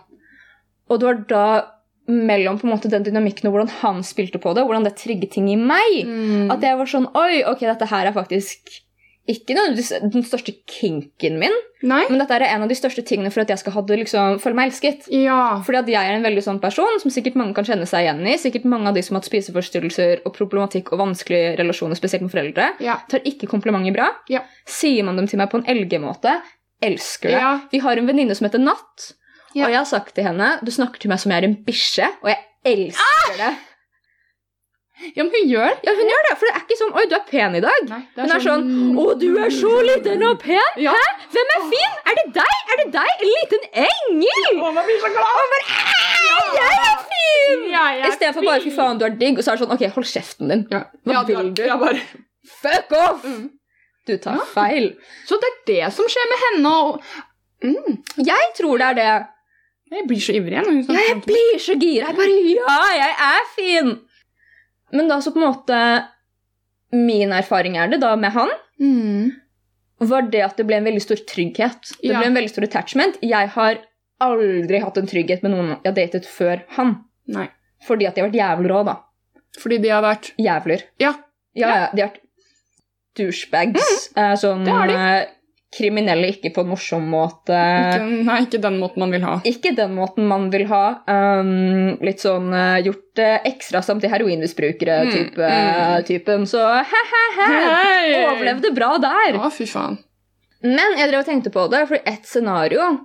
Speaker 1: Og det var da mellom på en måte den dynamikken og hvordan han spilte på det, og hvordan det trigget ting i meg,
Speaker 2: Mm.
Speaker 1: at jeg var sånn Oi, ok, dette her er faktisk ikke nødvendigvis den største kinken min,
Speaker 2: Nei?
Speaker 1: men dette er en av de største tingene for at jeg skal ha det, liksom, føle meg elsket.
Speaker 2: Ja.
Speaker 1: Fordi at jeg er en veldig sånn person som sikkert mange kan kjenne seg igjen i. Sikkert mange av de som har hatt spiseforstyrrelser og problematikk og vanskelige relasjoner, spesielt med foreldre,
Speaker 2: Ja.
Speaker 1: tar ikke komplimenter bra.
Speaker 2: Ja.
Speaker 1: Sier man dem til meg på en LG-måte, elsker det.
Speaker 2: Ja.
Speaker 1: Vi har en venninne som heter Natt,
Speaker 2: Ja.
Speaker 1: og jeg har sagt til henne du snakker til meg som jeg er en bikkje, og jeg elsker det.
Speaker 2: ja, men hun gjør det.
Speaker 1: Ja, hun gjør det, for det er ikke sånn oi, du er pen i dag.
Speaker 2: Nei, det
Speaker 1: Hun er sånn Å, du er så liten og pen!
Speaker 2: Ja.
Speaker 1: Hæ? Hvem er fin? Er det deg? Er det deg? En liten engel?
Speaker 2: Å, man blir så glad!
Speaker 1: Jeg er fin!
Speaker 2: Ja, jeg
Speaker 1: I stedet for bare 'fy faen, du er digg', og så er det sånn 'ok, hold kjeften din'.
Speaker 2: Ja.
Speaker 1: Hva
Speaker 2: ja,
Speaker 1: vil
Speaker 2: du? Ja, bare.
Speaker 1: Fuck off! Du tar
Speaker 2: Ja.
Speaker 1: feil.
Speaker 2: Så det er det som skjer med henne. Og... Mm.
Speaker 1: Jeg tror det er det.
Speaker 2: Jeg blir så ivrig når hun sånn-
Speaker 1: Ja,
Speaker 2: snakker.
Speaker 1: jeg blir så gira. Jeg bare Ja, jeg er fin! Men da så på en måte Min erfaring er det da med han,
Speaker 2: Mm.
Speaker 1: var det at det ble en veldig stor trygghet. Det
Speaker 2: Ja.
Speaker 1: ble en veldig stor attachment. Jeg har aldri hatt en trygghet med noen jeg har datet før han.
Speaker 2: Nei.
Speaker 1: Fordi at de har vært jævler òg, da.
Speaker 2: Fordi de har vært
Speaker 1: Jævler.
Speaker 2: Ja. Mm.
Speaker 1: Ja, ja, De har vært douchebags. eh, Sånn
Speaker 2: Det har de.
Speaker 1: eh, kriminelle, ikke på en morsom måte.
Speaker 2: ikke, Nei, ikke den måten man vil ha.
Speaker 1: Ikke den måten man vil ha. ehm, litt sånn eh, gjort eh, ekstra samt til
Speaker 2: Mm,
Speaker 1: heroinmisbrukere-typen.
Speaker 2: mm.
Speaker 1: Så he-he-he!
Speaker 2: Hei!
Speaker 1: Overlevde bra der.
Speaker 2: Å, fy faen.
Speaker 1: Men jeg drev og tenkte på det, for ett scenario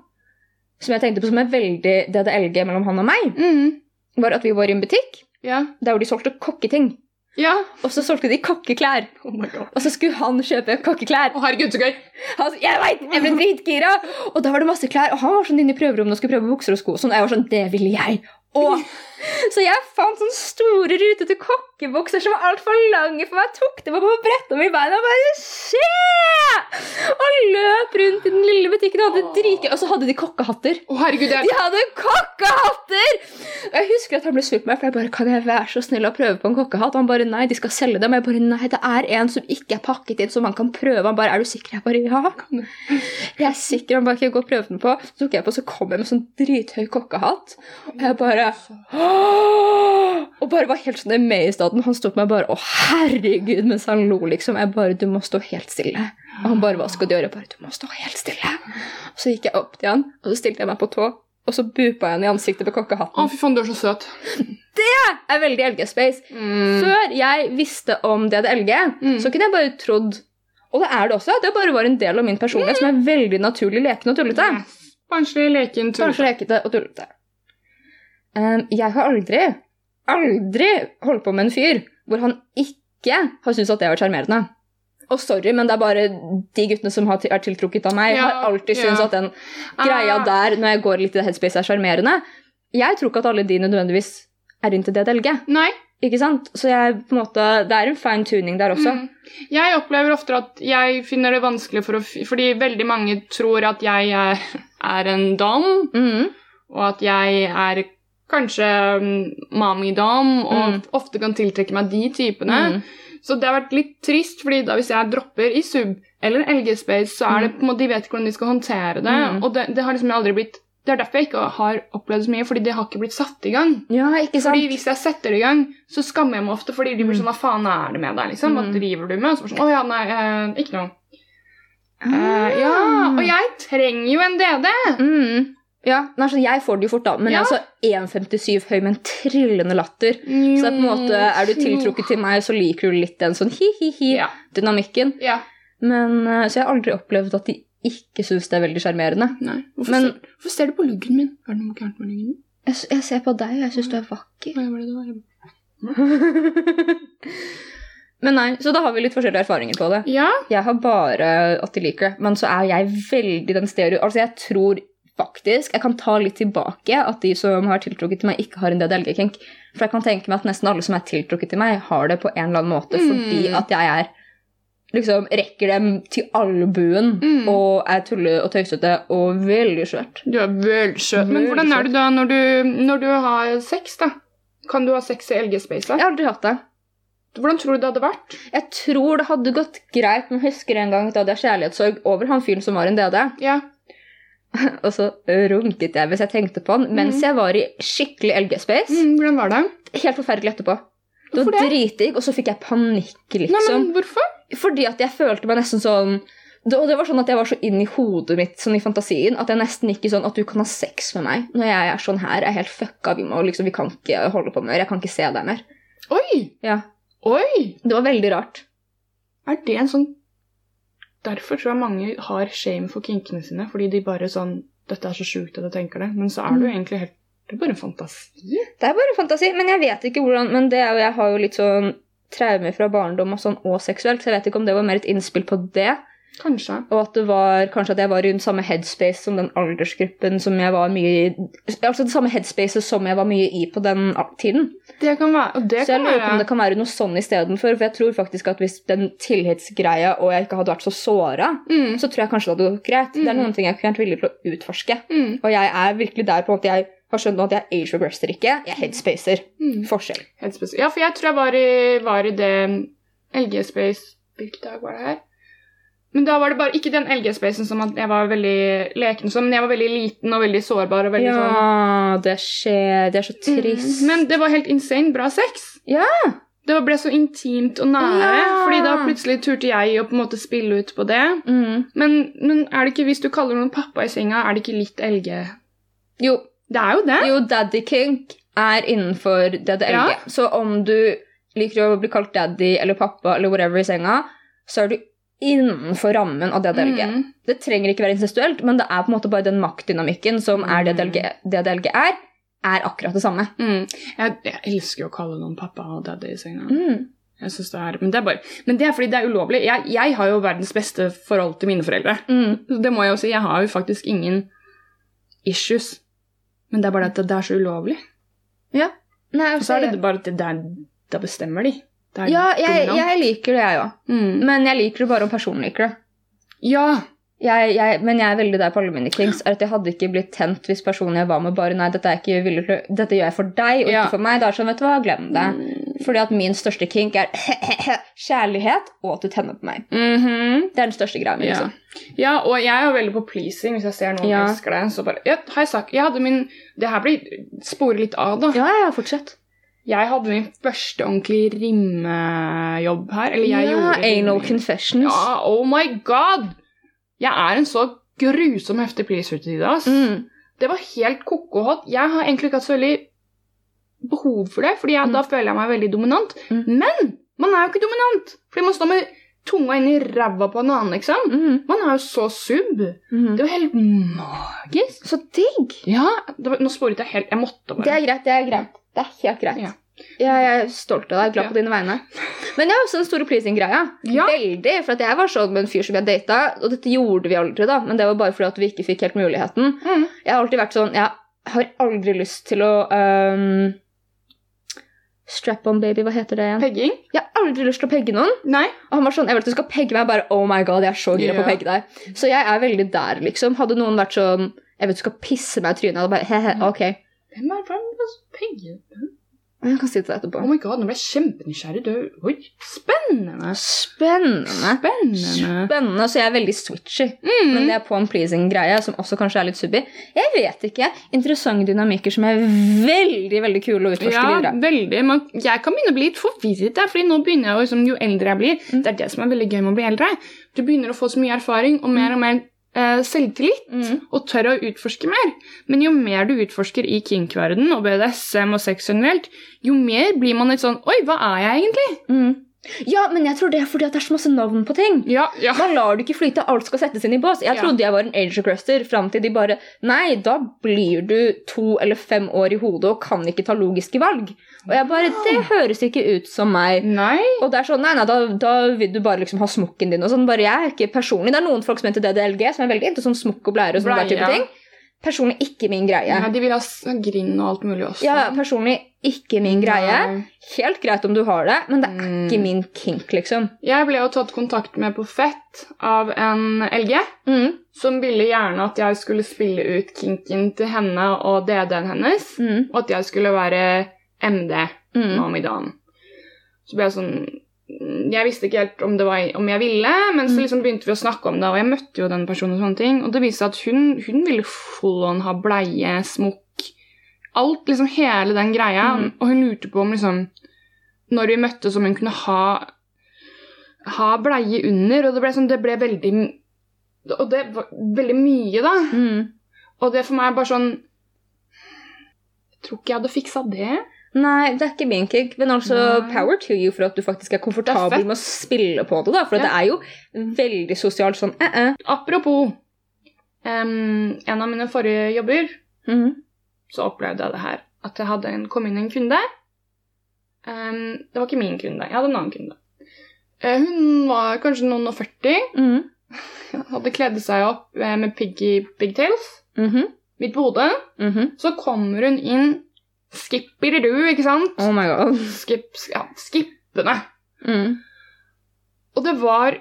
Speaker 1: som jeg tenkte på som er veldig DDLG mellom han og meg,
Speaker 2: Mm.
Speaker 1: var at vi var i en butikk
Speaker 2: Ja.
Speaker 1: der hvor de solgte kokketing.
Speaker 2: Ja.
Speaker 1: Og så solgte de kokkeklær.
Speaker 2: Oh my god.
Speaker 1: Og så skulle han kjøpe kokkeklær.
Speaker 2: Å, herregud, så gøy.
Speaker 1: Han sa, Altså, jeg vet, jeg ble dritgira! Og da var det masse klær, og han var sånn inne i prøverommet og skulle prøve bukser og sko. Sånn, og jeg var sånn, det ville jeg òg! Så jeg fant sånne store, rutete kokkebukser som var altfor lange for meg. Tok dem opp og bretta meg i beina og bare Skje! Og løp rundt i den lille butikken og hadde dritgøy. Og så hadde de kokkehatter.
Speaker 2: Å, herregud, jeg...
Speaker 1: De hadde kokkehatter! Og jeg husker at han ble sur på meg, for jeg bare Kan jeg være så snill å prøve på en kokkehatt? Og han bare Nei, de skal selge dem. Og jeg bare Nei, det er en som ikke er pakket inn, som man kan prøve. Han bare Er du sikker? Jeg bare Ja. Jeg er sikker. Han bare Kan jeg gå og prøve den på? Så tok jeg på, så kom jeg med sånn drithøy kokkehatt. Og jeg bare «Åh!» Og bare var helt sånn amazed av den. Han sto på meg bare Å, herregud, mens han lo, liksom. Jeg bare Du må stå helt stille. Og han bare Hva skal du gjøre? Jeg bare Du må stå helt stille. Og så gikk jeg opp til han, og så stilte jeg meg på tå, og så bupa jeg han i ansiktet med
Speaker 2: Å,
Speaker 1: kokkehatten.
Speaker 2: fy faen, du er så søt.
Speaker 1: Jeg er veldig LG-space. Før jeg visste om DDLG,
Speaker 2: Mm.
Speaker 1: så kunne jeg bare trodd Og det er det også. Det bare var en del av min personlighet som er veldig naturlig leken og tullete.
Speaker 2: Yes. Barnslig leken tull.
Speaker 1: Kanskje lekete og tullete. Um, jeg har aldri, aldri holdt på med en fyr hvor han ikke har syntes at det har vært sjarmerende. Og sorry, men det er bare de guttene som har til- er tiltrukket av meg,
Speaker 2: Ja,
Speaker 1: har alltid syntes
Speaker 2: ja.
Speaker 1: at den greia
Speaker 2: Ah.
Speaker 1: der, når jeg går litt i det headspace, er sjarmerende. Jeg tror ikke at alle de nødvendigvis er inntil DDLG.
Speaker 2: Nei.
Speaker 1: Ikke sant? Så jeg, på en måte, det er en fine tuning der også.
Speaker 2: Mm. Jeg opplever ofte at jeg finner det vanskelig for å fi- Fordi veldig mange tror at jeg er, er en dom,
Speaker 1: Mm.
Speaker 2: og at jeg er kanskje mm, mommy-dom, og
Speaker 1: Mm.
Speaker 2: ofte kan tiltrekke meg de typene.
Speaker 1: Mm.
Speaker 2: Så det har vært litt trist, fordi da hvis jeg dropper i sub eller LG Space, så er det på en måte, de vet ikke hvordan de skal håndtere det.
Speaker 1: Mm.
Speaker 2: Og det, det har liksom aldri blitt Det er derfor jeg ikke har opplevd så mye, fordi det har ikke blitt satt i gang.
Speaker 1: Ja, ikke sant?
Speaker 2: Fordi hvis jeg setter det i gang, så skammer jeg meg ofte, fordi de blir sånn Hva faen er det med deg, liksom? Hva
Speaker 1: Mm.
Speaker 2: driver du med? Og så bare sånn Å ja, nei, eh, ikke noe.
Speaker 1: Ah.
Speaker 2: Eh, ja, og jeg trenger jo en DD.
Speaker 1: Mm. Ja, nei, så jeg får det jo fort, da. Men
Speaker 2: Ja.
Speaker 1: jeg er altså 1,57 høy med en trillende latter. Så det er på en måte, er du tiltrukket til meg, så liker du litt den sånn
Speaker 2: Ja.
Speaker 1: hi-hi-hi-dynamikken.
Speaker 2: ja.
Speaker 1: Men, eh, Så jeg har aldri opplevd at de ikke syns det er veldig sjarmerende.
Speaker 2: Nei. Hvorfor,
Speaker 1: Men-
Speaker 2: ser, hvorfor ser du på luggen min? Er det noe gærent med luggen min?
Speaker 1: Jeg, s- jeg ser på deg, og jeg syns du er vakker.
Speaker 2: Hva var det det var?
Speaker 1: Men nei, så da har vi litt forskjellige erfaringer på det.
Speaker 2: Ja.
Speaker 1: Jeg har bare at de liker det. Men så er jeg veldig den stereo... Altså, jeg tror faktisk Jeg kan ta litt tilbake at de som har tiltrukket til meg, ikke har en DDLG-kink. For jeg kan tenke meg at nesten alle som er tiltrukket til meg, har det på en eller annen måte
Speaker 2: Mm.
Speaker 1: fordi at jeg er liksom rekker dem til albuen
Speaker 2: Mm.
Speaker 1: og er tulle og tøysete og veldig svært.
Speaker 2: Du er veldig søt. Men
Speaker 1: Veldig
Speaker 2: hvordan er
Speaker 1: søt.
Speaker 2: du da når du, når du har sex, da? Kan du ha sex i LG-spacet?
Speaker 1: Jeg har aldri hatt det.
Speaker 2: Hvordan tror du det hadde vært?
Speaker 1: Jeg tror det hadde gått greit, men jeg husker en gang da hadde jeg kjærlighetssorg over han fyren som var en DD.
Speaker 2: Ja.
Speaker 1: Og så runket jeg hvis jeg tenkte på han, mens
Speaker 2: Mhm.
Speaker 1: jeg var i skikkelig LG-space.
Speaker 2: Mm, hvordan var det?
Speaker 1: Helt forferdelig etterpå. Det
Speaker 2: Hvorfor
Speaker 1: var
Speaker 2: det?
Speaker 1: dritdigg, og så fikk jeg panikk, liksom.
Speaker 2: Nei, men hvorfor?
Speaker 1: Fordi at jeg følte meg nesten sånn det, Og det var sånn at jeg var så inn i hodet mitt, sånn i fantasien, at jeg nesten ikke sånn at du kan ha sex med meg når jeg er sånn her. Jeg er helt fucka, vi må liksom Vi kan ikke holde på mer. Jeg kan ikke se deg mer.
Speaker 2: Oi!
Speaker 1: Ja.
Speaker 2: Oi!
Speaker 1: Det var veldig rart.
Speaker 2: Er det en sånn Derfor tror jeg mange har shame for kinkene sine, fordi de bare sånn Dette er så sjukt at jeg tenker det. Men så er det
Speaker 1: Mm.
Speaker 2: jo egentlig helt Det er bare en fantasi.
Speaker 1: Det er bare fantasi. Men jeg vet ikke hvordan Men det er jo Jeg har jo litt sånn traumer fra barndom og sånn, og seksuelt, så jeg vet ikke om det var mer et innspill på det.
Speaker 2: Kanskje.
Speaker 1: Og at det var kanskje at jeg var i den samme headspace som den aldersgruppen som jeg var mye i Altså det samme headspacet som jeg var mye i på den tiden.
Speaker 2: Det kan være Og det
Speaker 1: så jeg
Speaker 2: kan
Speaker 1: lurer på
Speaker 2: være
Speaker 1: om det kan være noe sånn istedenfor. For jeg tror faktisk at hvis den tillitsgreia og jeg ikke hadde vært så såra,
Speaker 2: mm,
Speaker 1: så tror jeg kanskje det hadde gått greit. Det er
Speaker 2: Mm.
Speaker 1: noen ting jeg ikke er helt villig til å utforske.
Speaker 2: mm,
Speaker 1: Og jeg er virkelig der på at jeg har skjønt nå at jeg age regrester ikke. Jeg headspacer.
Speaker 2: mm.
Speaker 1: Forskjell.
Speaker 2: Helt spesielt. Ja, for jeg tror jeg var i, var i det LG-space Hvilken dag var det her? Men da var det bare ikke den LG-spacen som at jeg var veldig leken som, men jeg var veldig liten og veldig sårbar og veldig sånn
Speaker 1: Ja, det skjer. Det er så trist.
Speaker 2: Mm, Men det var helt insane bra sex.
Speaker 1: Ja.
Speaker 2: Det ble så intimt og nære,
Speaker 1: Ja.
Speaker 2: fordi da plutselig turte jeg å på en måte spille ut på det.
Speaker 1: mm.
Speaker 2: Men, men er det ikke, hvis du kaller noen pappa i senga, er det ikke litt LG?
Speaker 1: Jo,
Speaker 2: Det er jo det.
Speaker 1: Jo, daddy kink er innenfor DDLG.
Speaker 2: Ja.
Speaker 1: Så om du liker å bli kalt daddy eller pappa eller whatever i senga, så er du innenfor rammen av DDLG.
Speaker 2: Mm.
Speaker 1: Det trenger ikke være incestuelt, men det er på en måte bare den maktdynamikken som er
Speaker 2: Mm.
Speaker 1: DDLG, DDLG er, er akkurat det samme.
Speaker 2: Mm. Jeg, jeg elsker jo å kalle noen pappa og daddy i senga.
Speaker 1: Mm.
Speaker 2: Jeg synes det er, men, det er bare, men det er fordi det er ulovlig. Jeg, jeg har jo verdens beste forhold til mine foreldre.
Speaker 1: Mm.
Speaker 2: Så Det må jeg jo si. Jeg har jo faktisk ingen issues. Men det er bare at det, det er så ulovlig.
Speaker 1: Nei,
Speaker 2: Og så
Speaker 1: altså,
Speaker 2: er det bare at det, det er, da bestemmer de. Det er
Speaker 1: ja, jeg,
Speaker 2: dumt.
Speaker 1: jeg liker det, jeg òg.
Speaker 2: Mm.
Speaker 1: Men jeg liker det bare om personen liker det.
Speaker 2: Ja.
Speaker 1: Jeg, jeg, men jeg er veldig der på alle mine kings. Er at Jeg hadde ikke blitt tent hvis personen jeg var med, bare Nei, dette, er ikke villig til å- dette gjør jeg for deg og
Speaker 2: Ja. Mm.
Speaker 1: ikke for meg. Da er det sånn, vet du hva, glem det. Fordi at min største kink er kjærlighet og at du tenner på meg.
Speaker 2: Mhm.
Speaker 1: Det er den største greia mi.
Speaker 2: ja.
Speaker 1: Liksom.
Speaker 2: ja, og jeg er jo veldig på pleasing hvis jeg ser noen
Speaker 1: Ja.
Speaker 2: elsker det. Så bare, ja, har jeg sagt, jeg hadde min, det her blir sporet litt av da.
Speaker 1: Ja, ja, fortsett.
Speaker 2: Jeg hadde min første ordentlig rimmejobb her. Eller jeg
Speaker 1: ja,
Speaker 2: gjorde
Speaker 1: anal
Speaker 2: rimming.
Speaker 1: confessions.
Speaker 2: Ja, oh my god! Jeg er en så grusom heftig pleaser til tider, ass.
Speaker 1: Mm.
Speaker 2: Det var helt koko hot. Jeg har egentlig ikke hatt så veldig behov for det, fordi jeg,
Speaker 1: Mm.
Speaker 2: da føler jeg meg veldig dominant.
Speaker 1: Mm.
Speaker 2: Men man er jo ikke dominant, fordi man står med tunga inn i ræva på en annen, liksom.
Speaker 1: Mm.
Speaker 2: Man er jo så sub.
Speaker 1: Mm.
Speaker 2: Det var helt magisk.
Speaker 1: Så digg!
Speaker 2: Ja, det var, nå sporet jeg helt Jeg måtte
Speaker 1: Det
Speaker 2: bare.
Speaker 1: er greit. Det er greit. Det er helt greit.
Speaker 2: Ja.
Speaker 1: Jeg er stolt av deg. Glad på dine vegne. Men jeg har også den store pleasing-greia.
Speaker 2: Ja.
Speaker 1: Veldig, for at jeg var sånn med en fyr som jeg data, og dette gjorde vi aldri, da, men det var bare fordi at vi ikke fikk helt muligheten.
Speaker 2: Mm.
Speaker 1: Jeg har alltid vært sånn Jeg har aldri lyst til å øhm, Strap on, baby. Hva heter det igjen?
Speaker 2: Pegging?
Speaker 1: Jeg har aldri lyst til å pegge noen.
Speaker 2: Nei.
Speaker 1: Og han var sånn Jeg vil at du skal pegge meg. Jeg Bare, oh my god, jeg er så gira på å
Speaker 2: Ja.
Speaker 1: pegge deg. Så jeg er veldig der, liksom. Hadde noen vært sånn Jeg vet du skal pisse meg i trynet. Jeg hadde bare he-he, ok.
Speaker 2: Hvem er det? Pegging?
Speaker 1: Jeg kan si til deg etterpå.
Speaker 2: Oh my god, nå ble jeg kjempenysgjerrig. Du- Oi, spennende.
Speaker 1: Spennende.
Speaker 2: Spennende.
Speaker 1: Spennende, så jeg er veldig switchy.
Speaker 2: Mhm. Mm.
Speaker 1: Men det er på en pleasing-greie som også kanskje er litt subby. Jeg vet ikke. Interessante dynamikker som er veldig veldig kule å utforske
Speaker 2: Ja,
Speaker 1: videre.
Speaker 2: veldig. Man, jeg kan begynne å bli litt forvirret, der, fordi nå begynner jeg jo, liksom, jo eldre jeg blir.
Speaker 1: Mm.
Speaker 2: Det er det som er veldig gøy med å bli eldre. Du begynner å få så mye erfaring og mer og mer eh, selvtillit.
Speaker 1: Mm.
Speaker 2: Og tør å utforske mer. Men jo mer du utforsker i kink-verden og BDSM og sex generelt, jo mer blir man litt sånn Oi, hva er jeg egentlig?
Speaker 1: Mm. Ja, men jeg tror det er fordi at det er så masse navn på ting.
Speaker 2: Ja, ja.
Speaker 1: Da lar du ikke flyte, alt skal settes inn i bås. Jeg
Speaker 2: Ja.
Speaker 1: trodde jeg var en age cruster fram til de bare Nei, da blir du to eller fem år i hodet og kan ikke ta logiske valg. Og jeg bare Det høres ikke ut som meg.
Speaker 2: Nei.
Speaker 1: Og det er sånn, nei, nei, da, da vil du bare liksom ha smokken din og sånn. Bare jeg er ikke personlig. Det er noen folk som heter DDLG, som er veldig into sånn smokk og blære og sånne
Speaker 2: Blære,
Speaker 1: der type
Speaker 2: ja.
Speaker 1: ting. Personlig ikke min greie.
Speaker 2: Ja, de vil ha s- grind og alt mulig også.
Speaker 1: Ja, personlig Ikke min greie.
Speaker 2: Nei.
Speaker 1: Helt greit om du har det, men det er
Speaker 2: Mm.
Speaker 1: ikke min kink, liksom.
Speaker 2: Jeg ble jo tatt kontakt med på Fett av en LG,
Speaker 1: Mm.
Speaker 2: som ville gjerne at jeg skulle spille ut kinken til henne og DD-en hennes,
Speaker 1: Mm.
Speaker 2: og at jeg skulle være MD
Speaker 1: Mm.
Speaker 2: nå om i dagen. Så ble jeg sånn Jeg visste ikke helt om, det var, om jeg ville, men så
Speaker 1: Mm.
Speaker 2: liksom begynte vi å snakke om det, og jeg møtte jo den personen og sånne ting, og det viste seg at hun, hun ville full on ha bleie, smokk, alt, liksom hele den greia,
Speaker 1: Mm.
Speaker 2: og hun lurte på om liksom Når vi møttes, om hun kunne ha ha bleie under, og det ble sånn, det ble veldig Og det var veldig mye, da.
Speaker 1: Mm.
Speaker 2: Og det for meg er bare sånn Jeg tror ikke jeg hadde fiksa det.
Speaker 1: Nei, det er ikke min kink, men altså
Speaker 2: Nei.
Speaker 1: power to you for at du faktisk er
Speaker 2: Det er
Speaker 1: komfortabel
Speaker 2: fett.
Speaker 1: med å spille på det, da. For
Speaker 2: Ja.
Speaker 1: det er jo veldig sosialt sånn eh, eh.
Speaker 2: Apropos em, en av mine forrige jobber,
Speaker 1: Mhm.
Speaker 2: så opplevde jeg det her. At jeg hadde en, kom inn en kunde. Em, det var ikke min kunde, jeg hadde en annen kunde. Eh, hun var kanskje noen og 40,
Speaker 1: Mhm.
Speaker 2: hadde kledd seg opp eh, med piggy pigtails,
Speaker 1: Mhm.
Speaker 2: midt på hodet.
Speaker 1: Mhm.
Speaker 2: Så kommer hun inn, skipper du, ikke sant?
Speaker 1: Oh my god.
Speaker 2: Skip, sk- ja, skippende.
Speaker 1: Mm.
Speaker 2: Og det var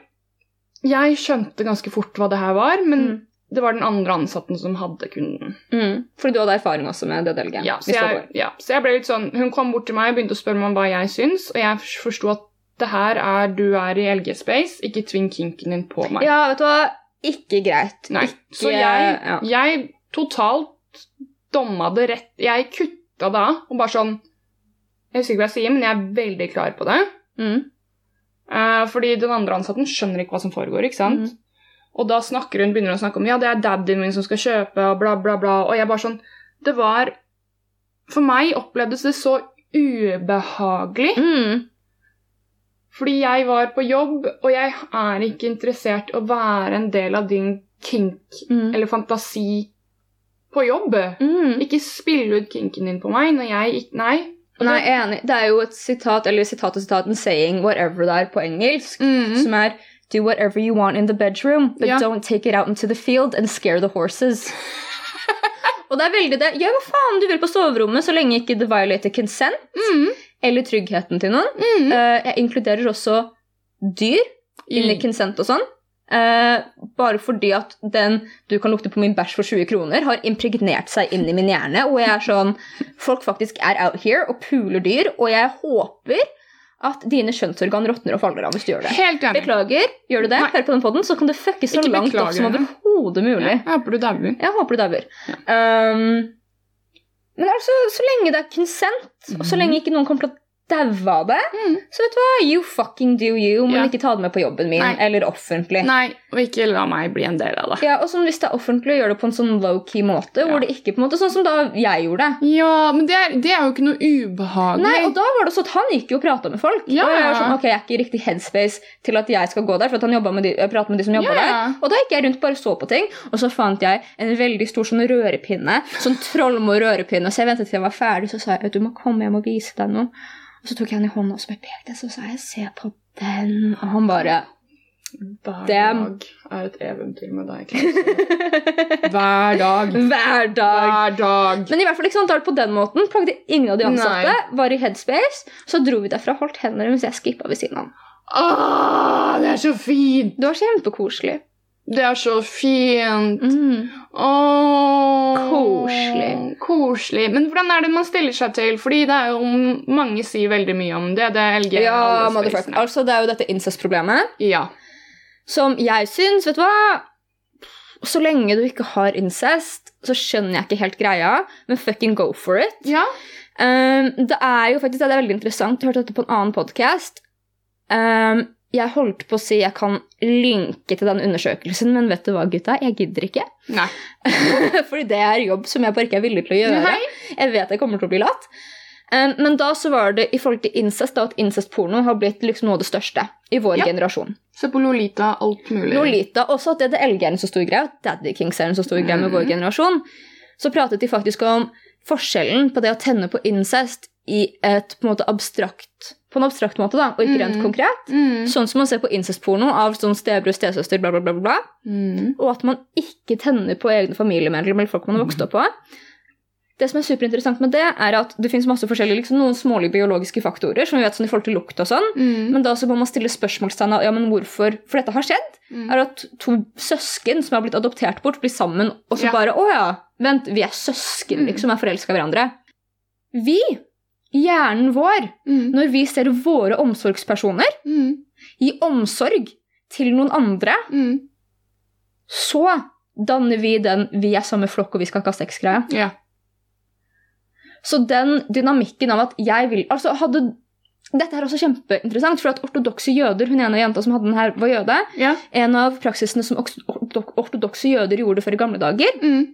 Speaker 2: Jeg skjønte ganske fort hva det her var, men
Speaker 1: Mm.
Speaker 2: det var den andre ansatten som hadde kunden.
Speaker 1: Mm. Fordi du hadde erfaring også med det delget.
Speaker 2: Ja, så, jeg, ja, så jeg ble litt sånn, Hun kom bort til meg og begynte å spørre meg om hva jeg syns, og jeg fors- forsto at det her er du er i LG Space, ikke tving kinken din på meg.
Speaker 1: ja, vet du hva. Ikke greit.
Speaker 2: Nei.
Speaker 1: Ikke,
Speaker 2: Så jeg,
Speaker 1: ja.
Speaker 2: jeg totalt domma det rett Jeg kutta det av og bare sånn Jeg husker ikke hva jeg sier, men jeg er veldig klar på det.
Speaker 1: Mm.
Speaker 2: Eh, fordi den andre ansatten skjønner ikke hva som foregår, ikke sant? Og da snakker hun, begynner hun å snakke om ja, det er daddyen min som skal kjøpe, og bla, bla, bla. Og jeg bare sånn Det var For meg opplevdes det så ubehagelig.
Speaker 1: Mm.
Speaker 2: Fordi jeg var på jobb, og jeg er ikke interessert i å være en del av din kink
Speaker 1: Mm.
Speaker 2: eller fantasi på jobb.
Speaker 1: Mm.
Speaker 2: Ikke spille ut kinken din på meg når jeg ikke Nei. Og
Speaker 1: Nei,
Speaker 2: det-
Speaker 1: jeg er enig. Det er jo et sitat, eller sitat og sitat, en saying, whatever det er på engelsk,
Speaker 2: Mhm.
Speaker 1: som er Do whatever you want in the bedroom, but
Speaker 2: Ja.
Speaker 1: don't take it out into the field and scare the horses. og det er veldig det. Gjør hva faen du vil på soverommet, så lenge ikke det violater consent
Speaker 2: Mhm.
Speaker 1: eller tryggheten til noen.
Speaker 2: Mhm.
Speaker 1: Eh, jeg inkluderer også dyr inn i
Speaker 2: Mm.
Speaker 1: consent og sånn. Eh, bare fordi at den 'du kan lukte på min bæsj for 20 kroner' har impregnert seg inn i min hjerne. Og jeg er sånn Folk faktisk er out here og puler dyr, og jeg håper at dine kjønnsorgan råtner og faller av hvis du gjør det.
Speaker 2: Helt enig.
Speaker 1: Beklager. Gjør du det,
Speaker 2: Nei.
Speaker 1: hør på den podden, så kan det fuckes så
Speaker 2: Ikke
Speaker 1: langt
Speaker 2: beklager,
Speaker 1: opp som
Speaker 2: ja.
Speaker 1: overhodet mulig.
Speaker 2: Jeg håper du dauer.
Speaker 1: Jeg håper du dauer. Um, men altså, så lenge det er consent, og så
Speaker 2: Mhm.
Speaker 1: lenge ikke noen kommer til å daue av det,
Speaker 2: Mhm.
Speaker 1: så vet du hva, you fucking do you, men
Speaker 2: Ja.
Speaker 1: ikke ta det med på jobben min
Speaker 2: Nei.
Speaker 1: eller offentlig.
Speaker 2: Nei, og ikke la meg bli en del av det.
Speaker 1: Ja, og sånn, Hvis det er offentlig, gjør det på en sånn low-key måte.
Speaker 2: Ja.
Speaker 1: hvor det ikke på en måte, Sånn som da jeg gjorde det.
Speaker 2: Ja, men det er, det er jo ikke noe ubehagelig.
Speaker 1: Nei, og da var det sånn at Han gikk jo og prata med folk.
Speaker 2: Ja.
Speaker 1: Og jeg var sånn, ok, jeg er ikke i riktig headspace til at jeg skal gå der. for at han jobbet med de, jeg pratet med de som
Speaker 2: ja,
Speaker 1: jobbet der.
Speaker 2: ja.
Speaker 1: Og da gikk jeg rundt bare så på ting, og så fant jeg en veldig stor sånn rørepinne. Sånn Trollmo-rørepinne. Så jeg ventet til jeg var ferdig, så sa jeg at du må komme hjem og vise deg noe. Og så tok jeg han i hånda og så bare pekte jeg, så sa jeg se på den. Og han bare
Speaker 2: Hver
Speaker 1: Dem.
Speaker 2: dag er et eventyr med deg, Klaus. Hver dag.
Speaker 1: Hver dag.
Speaker 2: Hver dag.
Speaker 1: Men i hvert fall ikke sant, da var det på den måten. Plagde ingen av de ansatte. Var i headspace. Så dro vi derfra og holdt hender mens jeg skippa ved siden av han.
Speaker 2: Åh, det er så fint!
Speaker 1: Det var kjempekoselig.
Speaker 2: Det er så fint.
Speaker 1: Mm.
Speaker 2: Åh.
Speaker 1: Koselig.
Speaker 2: Koselig. Men hvordan er det man stiller seg til? Fordi det er jo mange sier veldig mye om det. Det er LG.
Speaker 1: Ja,
Speaker 2: alle
Speaker 1: motherfucker.
Speaker 2: spacene.
Speaker 1: Altså, det er jo dette incest-problemet
Speaker 2: Ja.
Speaker 1: som jeg syns, vet du hva Så lenge du ikke har incest, så skjønner jeg ikke helt greia, men fucking go for it.
Speaker 2: Ja.
Speaker 1: Um, det er jo faktisk det er veldig interessant. Jeg hørte dette på en annen podkast. Um, jeg holdt på å si jeg kan linke til den undersøkelsen, men vet du hva, gutta? Jeg gidder ikke.
Speaker 2: Nei.
Speaker 1: Fordi det er jobb som jeg bare ikke er villig til å gjøre.
Speaker 2: Nei.
Speaker 1: Jeg vet jeg kommer til å bli lat. Um, men da så var det i forhold til incest da, at incestporno har blitt liksom noe av det største i vår
Speaker 2: Ja.
Speaker 1: generasjon.
Speaker 2: Se på Lolita, alt mulig.
Speaker 1: Lolita, også at DDLG er en så stor greie, at Daddy Kings er en så stor greie med
Speaker 2: Mhm.
Speaker 1: vår generasjon, så pratet de faktisk om forskjellen på det å tenne på incest i et på en måte abstrakt på en abstrakt måte, da, og ikke rent
Speaker 2: Mhm.
Speaker 1: konkret.
Speaker 2: Mm.
Speaker 1: Sånn som man ser på incestporno av sånn stebror, stesøster, bla, bla, bla, bla, bla.
Speaker 2: Mm.
Speaker 1: Og at man ikke tenner på egne familiemedlemmer eller folk man har vokst opp på. Det som er superinteressant med det, er at det finnes masse forskjellige, liksom noen smålige biologiske faktorer, som vi vet sånn i forhold til lukt og sånn, men da så må man stille spørsmålstegn av ja, men hvorfor For dette har skjedd.
Speaker 2: Mm.
Speaker 1: Er at to søsken som har blitt adoptert bort, blir sammen, og så
Speaker 2: Ja.
Speaker 1: bare Å ja, vent, vi er søsken,
Speaker 2: Mm.
Speaker 1: liksom, er forelska i hverandre. Vi, hjernen vår,
Speaker 2: Mm.
Speaker 1: når vi ser våre omsorgspersoner
Speaker 2: Mm.
Speaker 1: gi omsorg til noen andre,
Speaker 2: Mm.
Speaker 1: så danner vi den 'vi er samme flokk, og vi skal ikke ha sex'-greia.
Speaker 2: Ja.
Speaker 1: Så den dynamikken av at jeg vil Altså, hadde Dette er også kjempeinteressant, for at ortodokse jøder Hun ene jenta som hadde den her, var jøde.
Speaker 2: Ja.
Speaker 1: En av praksisene som oks- ortodok- ortodokse jøder gjorde før i gamle dager,
Speaker 2: Mm.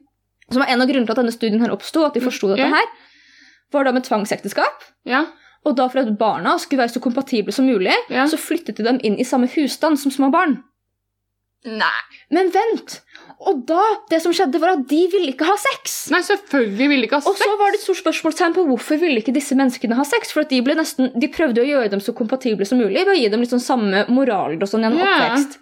Speaker 1: som var en av grunnene til at denne studien her oppsto, at de forsto dette
Speaker 2: Ja.
Speaker 1: her, var da med tvangsekteskap.
Speaker 2: Ja.
Speaker 1: Og da for at barna skulle være så kompatible som mulig,
Speaker 2: Ja.
Speaker 1: så flyttet de dem inn i samme husstand som små barn.
Speaker 2: Nei.
Speaker 1: Men vent! Og da, det som skjedde, var at de ville ikke ha sex!
Speaker 2: Nei, selvfølgelig ville de ikke ha
Speaker 1: Og
Speaker 2: sex.
Speaker 1: så var det et stort spørsmålstegn på hvorfor ville ikke disse menneskene ha sex. For at de, ble nesten, de prøvde å gjøre dem så kompatible som mulig ved å gi dem litt sånn samme moral og sånn gjennom
Speaker 2: Ja.
Speaker 1: oppvekst.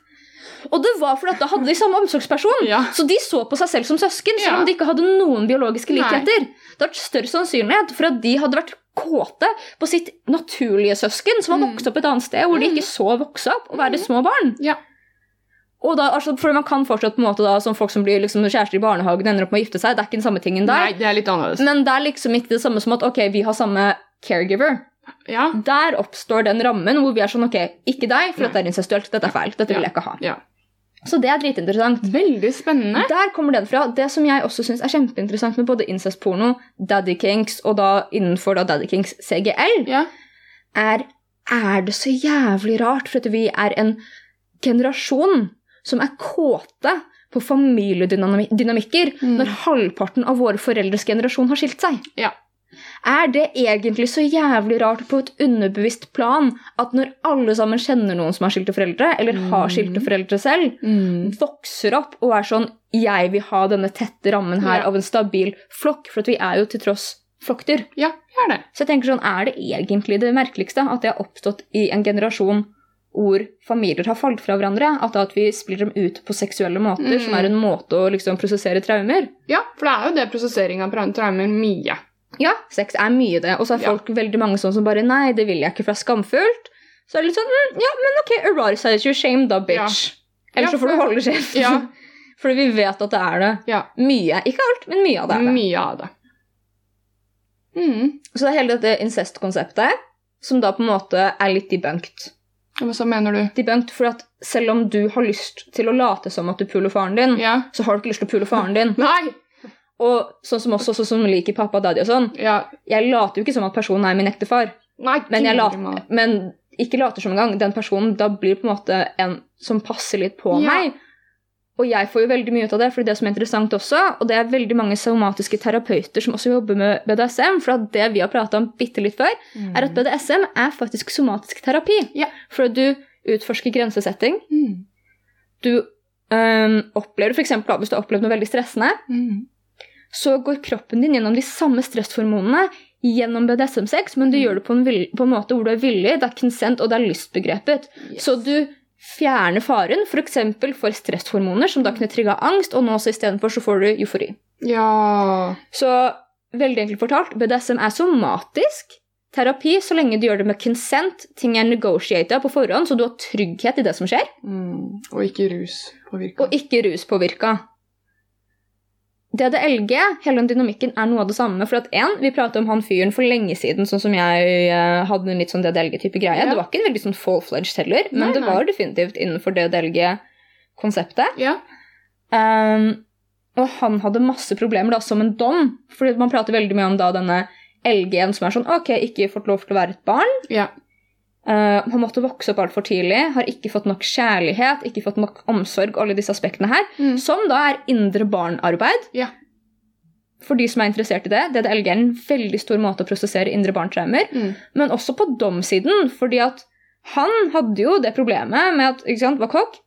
Speaker 1: Og det var fordi at da hadde de samme omsorgsperson.
Speaker 2: Ja.
Speaker 1: Så de så på seg selv som søsken, selv om
Speaker 2: Ja.
Speaker 1: de ikke hadde noen biologiske
Speaker 2: Nei.
Speaker 1: likheter. Det hadde vært større sannsynlighet for at de hadde vært kåte på sitt naturlige søsken, som har
Speaker 2: Mm.
Speaker 1: vokst opp et annet sted, hvor de
Speaker 2: Mm.
Speaker 1: ikke så vokse opp og være små barn.
Speaker 2: Ja.
Speaker 1: Og da, altså, for man kan fortsatt på en måte da, som folk som blir liksom, kjærester i barnehagen ender opp med å gifte seg, det er ikke den samme tingen der.
Speaker 2: Nei, det er litt annerledes.
Speaker 1: Men det er liksom ikke det samme som at ok, vi har samme caregiver.
Speaker 2: Ja.
Speaker 1: Der oppstår den rammen hvor vi er sånn ok, ikke deg, for
Speaker 2: Nei.
Speaker 1: dette er incestuelt, dette er feil, dette vil
Speaker 2: Ja.
Speaker 1: jeg ikke ha.
Speaker 2: Ja.
Speaker 1: Så det er dritinteressant.
Speaker 2: Veldig spennende.
Speaker 1: Der kommer den fra. Det som jeg også syns er kjempeinteressant med både incestporno, daddy kinks og da innenfor da daddy kinks CGL,
Speaker 2: Ja.
Speaker 1: er er det så jævlig rart for at vi er en generasjon som er kåte på familiedynamikker
Speaker 2: Mm.
Speaker 1: når halvparten av våre foreldres generasjon har skilt seg?
Speaker 2: Ja.
Speaker 1: Er det egentlig så jævlig rart på et underbevisst plan at når alle sammen kjenner noen som har skilte foreldre, eller har skilte
Speaker 2: Mm.
Speaker 1: foreldre selv, vokser opp og er sånn 'Jeg vil ha denne tette rammen her
Speaker 2: Ja.
Speaker 1: av en stabil flokk', for at vi er jo til tross flokkdyr.
Speaker 2: Ja, det er det.
Speaker 1: Så jeg tenker sånn, er det egentlig det merkeligste at det har oppstått i en generasjon hvor familier har falt fra hverandre? At, at vi spiller dem ut på seksuelle måter, som
Speaker 2: Mm.
Speaker 1: er en måte å liksom prosessere traumer?
Speaker 2: Ja, for det er jo det prosessering av trau- traumer mye.
Speaker 1: Ja, sex er mye det. Og så er
Speaker 2: Ja.
Speaker 1: folk veldig mange sånn som bare Nei, det vil jeg ikke, for det er skamfullt. Så er det litt sånn mm, Ja, men ok, eroticize your shame, da, bitch. Ellers
Speaker 2: Ja,
Speaker 1: så får du
Speaker 2: for-
Speaker 1: holde kjeft.
Speaker 2: Ja.
Speaker 1: Fordi vi vet at det er det.
Speaker 2: Ja.
Speaker 1: Mye. Ikke alt, men mye av det er det.
Speaker 2: Mye av det. Mm.
Speaker 1: Så det er hele dette incest-konseptet, som da på en måte er litt debunked.
Speaker 2: Hva så mener du?
Speaker 1: debunked, for at selv om du har lyst til å late som at du puler faren din,
Speaker 2: Ja.
Speaker 1: så har du ikke lyst til å pule faren din.
Speaker 2: Nei!
Speaker 1: Og sånn som også sånn som liker pappa og daddy og sånn.
Speaker 2: Ja.
Speaker 1: Jeg later jo ikke som at personen er min ekte far,
Speaker 2: Nei,
Speaker 1: men, jeg
Speaker 2: guri
Speaker 1: later,
Speaker 2: malla.
Speaker 1: men ikke later som engang. Den personen da blir på en måte en som passer litt på
Speaker 2: Ja.
Speaker 1: meg. Og jeg får jo veldig mye ut av det, for det som er interessant også, og det er veldig mange somatiske terapeuter som også jobber med BDSM, for at det vi har prata om bitte litt før,
Speaker 2: Mm.
Speaker 1: er at BDSM er faktisk somatisk terapi.
Speaker 2: Ja.
Speaker 1: For at du utforsker grensesetting,
Speaker 2: Mm.
Speaker 1: du øhm, opplever, for eksempel, da, Hvis du har opplevd noe veldig stressende,
Speaker 2: Mm.
Speaker 1: så går kroppen din gjennom de samme stresshormonene gjennom BDSM-sex, men du
Speaker 2: Mm.
Speaker 1: gjør det på en, vil- på en måte hvor du er villig, det er consent og det er lystbegrepet.
Speaker 2: Yes.
Speaker 1: Så du fjerner faren f.eks. For, for stresshormoner, som da
Speaker 2: Mm.
Speaker 1: kunne trigge angst, og nå så istedenfor så får du eufori.
Speaker 2: Ja.
Speaker 1: Så veldig enkelt fortalt, BDSM er somatisk terapi så lenge du gjør det med consent, ting er negotiata på forhånd, så du har trygghet i det som skjer.
Speaker 2: Mm. Og ikke rus på
Speaker 1: og ikke ruspåvirka. DDLG, hele den dynamikken, er noe av det samme. For at en, vi pratet om han fyren for lenge siden, sånn som jeg eh, hadde en litt sånn DDLG-type greie.
Speaker 2: Ja.
Speaker 1: Det var ikke en veldig sånn full-fledged heller, men
Speaker 2: Nei,
Speaker 1: det
Speaker 2: nei.
Speaker 1: var definitivt innenfor DDLG-konseptet.
Speaker 2: Ja.
Speaker 1: Ehm, og han hadde masse problemer da, som en dom, fordi man prater veldig mye om da denne LG-en som er sånn Ok, ikke fått lov til å være et barn.
Speaker 2: Ja.
Speaker 1: Eh, han måtte vokse opp altfor tidlig, har ikke fått nok kjærlighet, ikke fått nok omsorg, alle disse aspektene her.
Speaker 2: Mm.
Speaker 1: Som da er indre barnarbeid.
Speaker 2: Ja.
Speaker 1: For de som er interessert i det. DDLG er en veldig stor måte å prosessere indre barntraumer.
Speaker 2: Mm.
Speaker 1: Men også på domsiden, fordi at han hadde jo det problemet med at ikke sant, var kokk.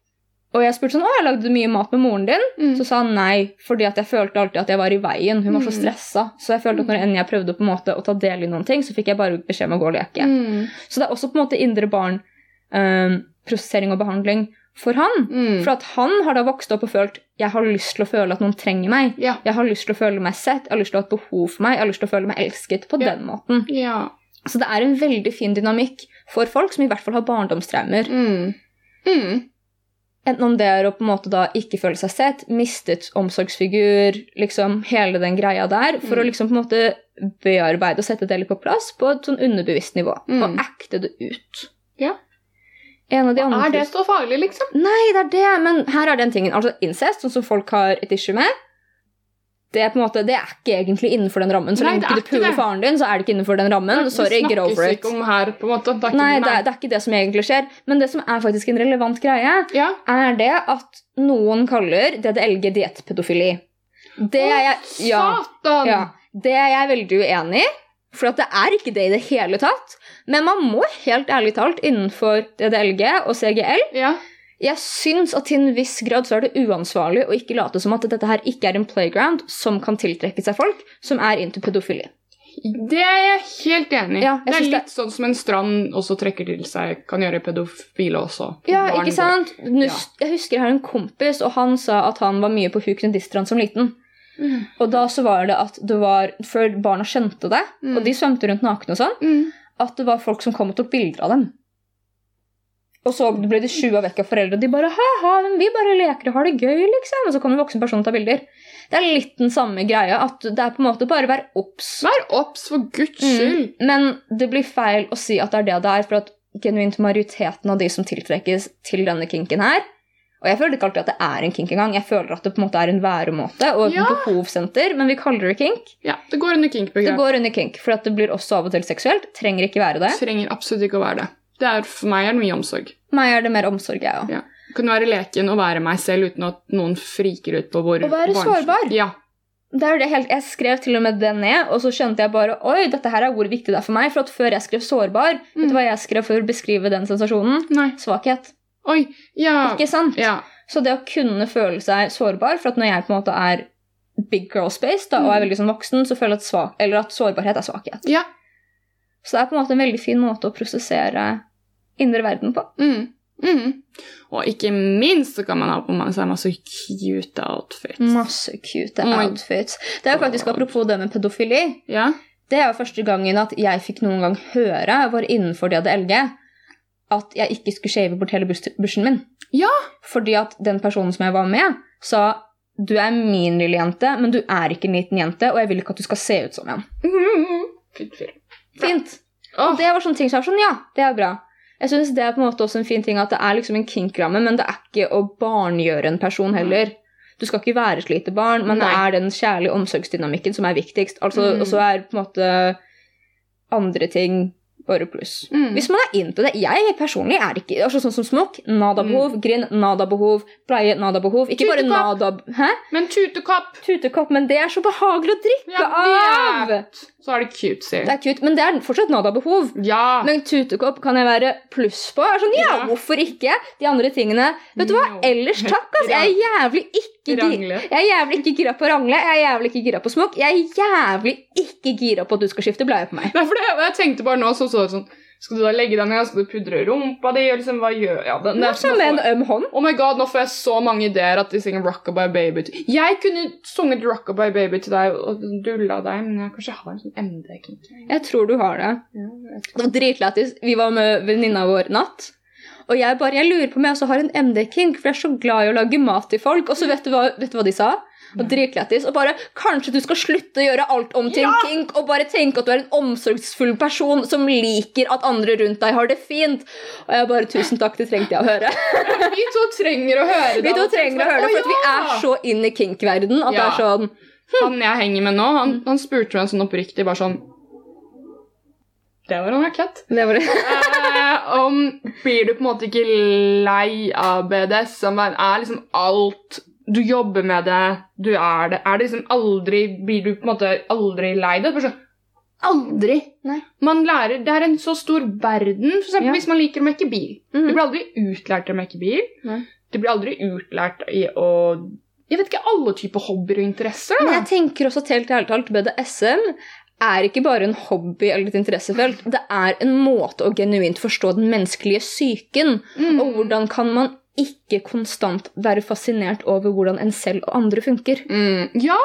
Speaker 1: Og jeg spurte sånn, å, jeg lagde mye mat med moren din.
Speaker 2: Mm.
Speaker 1: Så sa han nei, fordi at jeg følte alltid at jeg var i veien. Hun var så
Speaker 2: Mm.
Speaker 1: stressa. Så jeg følte at når enn jeg prøvde på en måte å ta del i noen ting, så fikk jeg bare beskjed om å gå og leke.
Speaker 2: Mm.
Speaker 1: Så det er også på en måte indre barn, eh, prosessering og behandling. for han.
Speaker 2: Mm.
Speaker 1: For at han har da vokst opp og følt jeg har lyst til å føle at noen trenger meg.
Speaker 2: Ja.
Speaker 1: Jeg har lyst til å føle meg sett, jeg har lyst til å ha et behov for meg, jeg har lyst til å føle meg elsket på
Speaker 2: Ja.
Speaker 1: den måten.
Speaker 2: ja.
Speaker 1: Så det er en veldig fin dynamikk for folk som i hvert fall har barndomstraumer.
Speaker 2: Mm. Mm.
Speaker 1: Enten om det er å på en måte da ikke føle seg sett, mistet omsorgsfigur, liksom hele den greia der, for
Speaker 2: Mm.
Speaker 1: å liksom på en måte bearbeide og sette det litt på plass på et sånn underbevisst nivå.
Speaker 2: Mm.
Speaker 1: Og acte det ut.
Speaker 2: Ja.
Speaker 1: En av de andre
Speaker 2: Er det så farlig, liksom?
Speaker 1: Nei, det er det, men her er den tingen. Altså incest, sånn som folk har et issue med, det er på en måte, det er ikke egentlig innenfor den rammen. Så
Speaker 2: Nei,
Speaker 1: lenge ikke
Speaker 2: det er
Speaker 1: du
Speaker 2: ikke
Speaker 1: puler
Speaker 2: det.
Speaker 1: faren din, så er det ikke innenfor den rammen. Sorry,
Speaker 2: Det
Speaker 1: get
Speaker 2: snakkes
Speaker 1: over it.
Speaker 2: ikke om her, på en måte. Det er ikke,
Speaker 1: Nei, det er, det er ikke det som egentlig skjer. Men det som er faktisk en relevant greie,
Speaker 2: Ja.
Speaker 1: er det at noen kaller DDLG diettpedofili. Det er jeg,
Speaker 2: Å,
Speaker 1: ja,
Speaker 2: Satan!
Speaker 1: ja, det er jeg veldig uenig i. For at det er ikke det i det hele tatt. Men man må helt ærlig talt innenfor DDLG og CGL
Speaker 2: Ja.
Speaker 1: Jeg syns at til en viss grad så er det uansvarlig å ikke late som at dette her ikke er en playground som kan tiltrekke seg folk som er into pedofili.
Speaker 2: Det er jeg helt enig i.
Speaker 1: Ja, jeg
Speaker 2: det er
Speaker 1: synes det-
Speaker 2: litt sånn som en strand også trekker til seg, kan gjøre pedofile også.
Speaker 1: Ja,
Speaker 2: Barn
Speaker 1: ikke sant? Nus, Jeg husker jeg har en kompis, og han sa at han var mye på Huken og Distrand som liten.
Speaker 2: går. Mm.
Speaker 1: Og da så var det at det var Før barna skjønte det,
Speaker 2: Mm.
Speaker 1: og de svømte rundt nakne og sånn,
Speaker 2: Mm.
Speaker 1: at det var folk som kom og tok bilder av dem. Og så ble de sjua vekk av foreldre, og de bare ha-ha, men vi bare leker og har det gøy, liksom. Og så kommer en voksen person og tar bilder. Det er litt den samme greia, at det er på en måte bare vær obs.
Speaker 2: Vær obs, for guds
Speaker 1: Mm.
Speaker 2: skyld!
Speaker 1: Men det blir feil å si at det er det det er, for at genuint majoriteten av de som tiltrekkes til denne kinken her Og jeg føler ikke alltid at det er en kink engang, jeg føler at det på en måte er en væremåte og et
Speaker 2: Ja.
Speaker 1: behovssenter, men vi kaller det kink.
Speaker 2: Ja, Det går under
Speaker 1: Det
Speaker 2: kink-begrepet.
Speaker 1: går under kink, for at det blir også av og til seksuelt. Trenger ikke være det.
Speaker 2: Trenger absolutt ikke å være det. det er, for meg er det mye omsorg.
Speaker 1: Meg er det mer omsorg, jeg òg.
Speaker 2: Ja. Kan være leken og være meg selv uten at noen friker ut på hvor
Speaker 1: Å være
Speaker 2: barnslig-
Speaker 1: sårbar.
Speaker 2: Ja.
Speaker 1: Det er jo det helt- Jeg skrev til og med det ned, og så skjønte jeg bare oi, dette her er hvor viktig det er for meg. For at før jeg skrev sårbar, vet
Speaker 2: Mm.
Speaker 1: du hva jeg skrev for å beskrive den sensasjonen?
Speaker 2: Nei.
Speaker 1: Svakhet.
Speaker 2: Oi. Ja.
Speaker 1: Ikke sant?
Speaker 2: ja.
Speaker 1: Så det å kunne føle seg sårbar, for at når jeg på en måte er big girl space da, og er veldig sånn voksen, så føler jeg at, svak, eller at sårbarhet er svakhet.
Speaker 2: Ja.
Speaker 1: Så det er på en måte en veldig fin måte å prosessere indre verden på.
Speaker 2: Mm. Mm. Og ikke minst så kan man ha på man- seg masse cute outfits.
Speaker 1: Masse cute
Speaker 2: Oh my
Speaker 1: outfits. Det er jo faktisk
Speaker 2: God.
Speaker 1: apropos det med pedofili.
Speaker 2: Ja.
Speaker 1: Det er jo første gangen at jeg fikk noen gang høre, var innenfor DDLG, at jeg ikke skulle shave bort hele bus- bushen min.
Speaker 2: Ja.
Speaker 1: Fordi at den personen som jeg var med, sa du er min lille jente, men du er ikke en liten jente, og jeg vil ikke at du skal se ut som en. Mm.
Speaker 2: Fint fyr.
Speaker 1: Fint.
Speaker 2: Åh.
Speaker 1: Og det var sånne ting som er sånn, ja, det er bra. Jeg synes det er på en måte også en fin ting at det er liksom en kinkramme, men det er ikke å barngjøre en person heller. Du skal ikke være et lite barn, men det
Speaker 2: Nei.
Speaker 1: er den kjærlige omsorgsdynamikken som er viktigst. Altså,
Speaker 2: Mm.
Speaker 1: Og så er på en måte andre ting bare pluss.
Speaker 2: Mm.
Speaker 1: Hvis man er into det Jeg personlig er ikke altså sånn som smokk.
Speaker 2: Mm.
Speaker 1: Nada-behov. Grin, nada-behov. Pleie, nada-behov. Ikke bare
Speaker 2: Tutekopp.
Speaker 1: nada... Hæ?
Speaker 2: Men tutekopp!
Speaker 1: Tutekopp, men det er så behagelig å drikke
Speaker 2: Ja,
Speaker 1: av!
Speaker 2: det Så er det cutesy.
Speaker 1: Det er cute, men det er fortsatt Nada-behov.
Speaker 2: Ja.
Speaker 1: Men tutekopp kan jeg være pluss på. Jeg er sånn, ja,
Speaker 2: Ah. Ja.
Speaker 1: hvorfor ikke? De andre tingene Vet du hva?
Speaker 2: No.
Speaker 1: Ellers takk, ass. Jeg er jævlig ikke gira.
Speaker 2: Rangle.
Speaker 1: Jeg er jævlig ikke gira på rangle, jeg er jævlig ikke gira på smokk. Jeg er jævlig ikke gira på at du skal skifte bleie på meg.
Speaker 2: Nei, for det, jeg tenkte bare nå så, så det sånn Skal du da legge deg ned? Skal du pudre rumpa di? Og liksom, hva gjør ja, det, det,
Speaker 1: Nå
Speaker 2: er
Speaker 1: som
Speaker 2: sånn
Speaker 1: med en
Speaker 2: at-
Speaker 1: øm hånd.
Speaker 2: Oh my god, nå får jeg så mange ideer at de synger Rockabye Baby. til- Jeg kunne sunget Rockabye Baby til deg og dulla deg, men jeg kanskje har en sånn MD-kink.
Speaker 1: Jeg tror du har det.
Speaker 2: Ja, jeg vet ikke.
Speaker 1: Det var dritlættis. Vi var med venninna vår natt. Og jeg bare, jeg lurer på om jeg også har en MD-kink, for jeg er så glad i å lage mat til folk. Og så vet du hva, vet du hva de sa? Og dritlættis. Og bare Kanskje du skal slutte å gjøre alt om til en kink, og bare tenke at du er en omsorgsfull person som liker at andre rundt deg har det fint. Og jeg bare Tusen takk, det trengte jeg å høre.
Speaker 2: Vi to trenger å høre det.
Speaker 1: Vi to trenger å høre det, for at vi er så inn i kink-verden at det
Speaker 2: Ja.
Speaker 1: er sånn
Speaker 2: Han jeg henger med nå, han, han spurte meg sånn oppriktig, bare sånn Det var en rakett.
Speaker 1: Det var det.
Speaker 2: Eh, om blir du på en måte ikke lei av BDS, som er, er liksom alt Du jobber med det, du er det Er det liksom aldri Blir du på en måte aldri lei det? Bare sånn, aldri!
Speaker 1: Nei.
Speaker 2: Man lærer, Det er en så stor verden. For eksempel
Speaker 1: Ja.
Speaker 2: hvis man liker å mekke bil. Du
Speaker 1: Mm.
Speaker 2: blir aldri utlært til å mekke bil.
Speaker 1: Nei.
Speaker 2: Du blir aldri utlært i å Jeg vet ikke alle typer hobbyer og interesser.
Speaker 1: Men
Speaker 2: da.
Speaker 1: jeg tenker også at helt ærlig talt, BDSM er ikke bare en hobby eller et interessefelt. Det er en måte å genuint forstå den menneskelige psyken.
Speaker 2: Mm.
Speaker 1: Og hvordan kan man ikke konstant være fascinert over hvordan en selv og andre funker.
Speaker 2: Mm. Ja!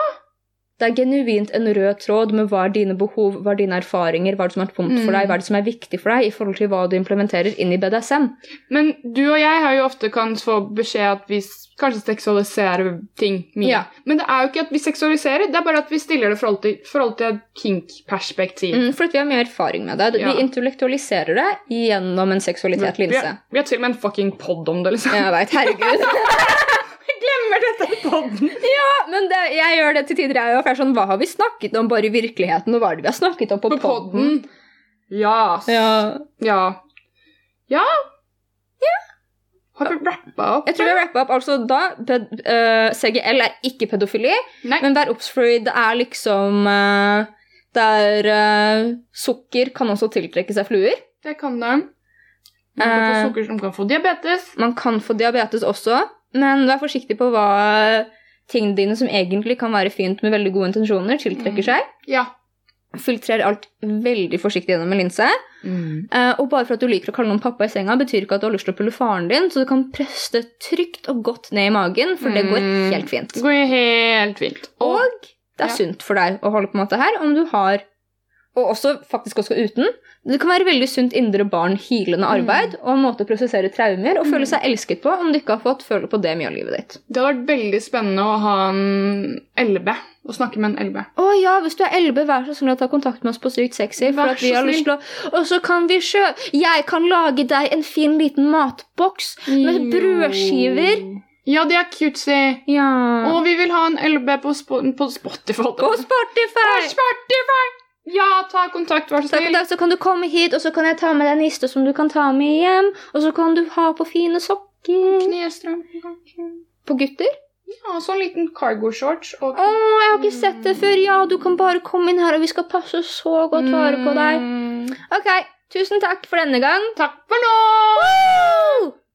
Speaker 1: Det er genuint en rød tråd med hva er dine behov, hva er dine erfaringer, hva er det som er vondt for
Speaker 2: Mm.
Speaker 1: deg, hva er det som er viktig for deg i forhold til hva du implementerer inn i BDSM.
Speaker 2: Men du og jeg har jo ofte kan få beskjed at vi s- kanskje seksualiserer ting mye.
Speaker 1: Ja.
Speaker 2: Men det er jo ikke at vi seksualiserer, det er bare at vi stiller det i forhold til, forhold til et kink-perspektiv.
Speaker 1: Mm, for at vi har mye erfaring med det.
Speaker 2: Ja.
Speaker 1: Vi intellektualiserer det gjennom en seksualitet
Speaker 2: Vi,
Speaker 1: linse.
Speaker 2: har- vi har til og med en fucking pod om det, liksom.
Speaker 1: Jeg vet, herregud.
Speaker 2: Glemmer dette i podden!
Speaker 1: Men det, jeg gjør det til tider, jeg òg. For jeg er sånn, hva har vi snakket om bare i virkeligheten, og hva er det vi har snakket om på,
Speaker 2: På podden. Ja. s-
Speaker 1: Ja.
Speaker 2: Ja. Ja. Har vi rappa opp?
Speaker 1: Jeg tror vi har rappa opp. Altså, da, ped, eh, CGL er ikke pedofili,
Speaker 2: Nei.
Speaker 1: men vær obs, fordi det er liksom eh, Det er eh, Sukker kan også tiltrekke seg fluer.
Speaker 2: Det kan de. De kan få
Speaker 1: Eh.
Speaker 2: sukker som kan få diabetes.
Speaker 1: Man kan få diabetes også, men vær forsiktig på hva tingene dine som egentlig kan være fint med veldig gode intensjoner, tiltrekker seg.
Speaker 2: Ja.
Speaker 1: Filtrer alt veldig forsiktig gjennom en linse. Eh, og bare for at du liker å kalle noen pappa i senga, betyr ikke at du har lyst til å pulle faren din, så du kan presse det trygt og godt ned i magen, for det går
Speaker 2: Mm.
Speaker 1: helt fint.
Speaker 2: Det går helt fint.
Speaker 1: Og det er
Speaker 2: Ja.
Speaker 1: sunt for deg å holde på en måte her, om du har Og også faktisk også uten. Det kan være veldig sunt indre barn, healende arbeid, og en måte å prosessere traumer og føle
Speaker 2: Mm.
Speaker 1: seg elsket på om du ikke har fått føle på det mye av livet ditt.
Speaker 2: Det hadde vært veldig spennende å ha en LB. Å snakke med en LB.
Speaker 1: Å ja, hvis du er 11, vær så snill å ta kontakt med oss på Sykt sexy. For
Speaker 2: Vær
Speaker 1: at vi
Speaker 2: så
Speaker 1: har lyst til å Og så kan vi sjø... Jeg kan lage deg en fin liten matboks. Med brødskiver.
Speaker 2: Ja, de er cutesy.
Speaker 1: Ja.
Speaker 2: Og vi vil ha en LB på, spo på Spotify.
Speaker 1: På
Speaker 2: På
Speaker 1: Spotify!
Speaker 2: Spotify! Ja, ta kontakt, vær så
Speaker 1: Så en
Speaker 2: snill.
Speaker 1: dag så kan du komme hit, og så kan jeg ta med deg en niste som du kan ta med hjem. Og så kan du ha på fine sokker.
Speaker 2: Knestrømpe, kanskje.
Speaker 1: På gutter?
Speaker 2: Ja, sånn liten cargo shorts. Og
Speaker 1: Å, jeg har ikke sett det før. Ja, du kan bare komme inn her, og vi skal passe så godt vare på deg.
Speaker 2: Mm.
Speaker 1: Ok, tusen takk for denne gang.
Speaker 2: Takk for nå!
Speaker 1: Woo!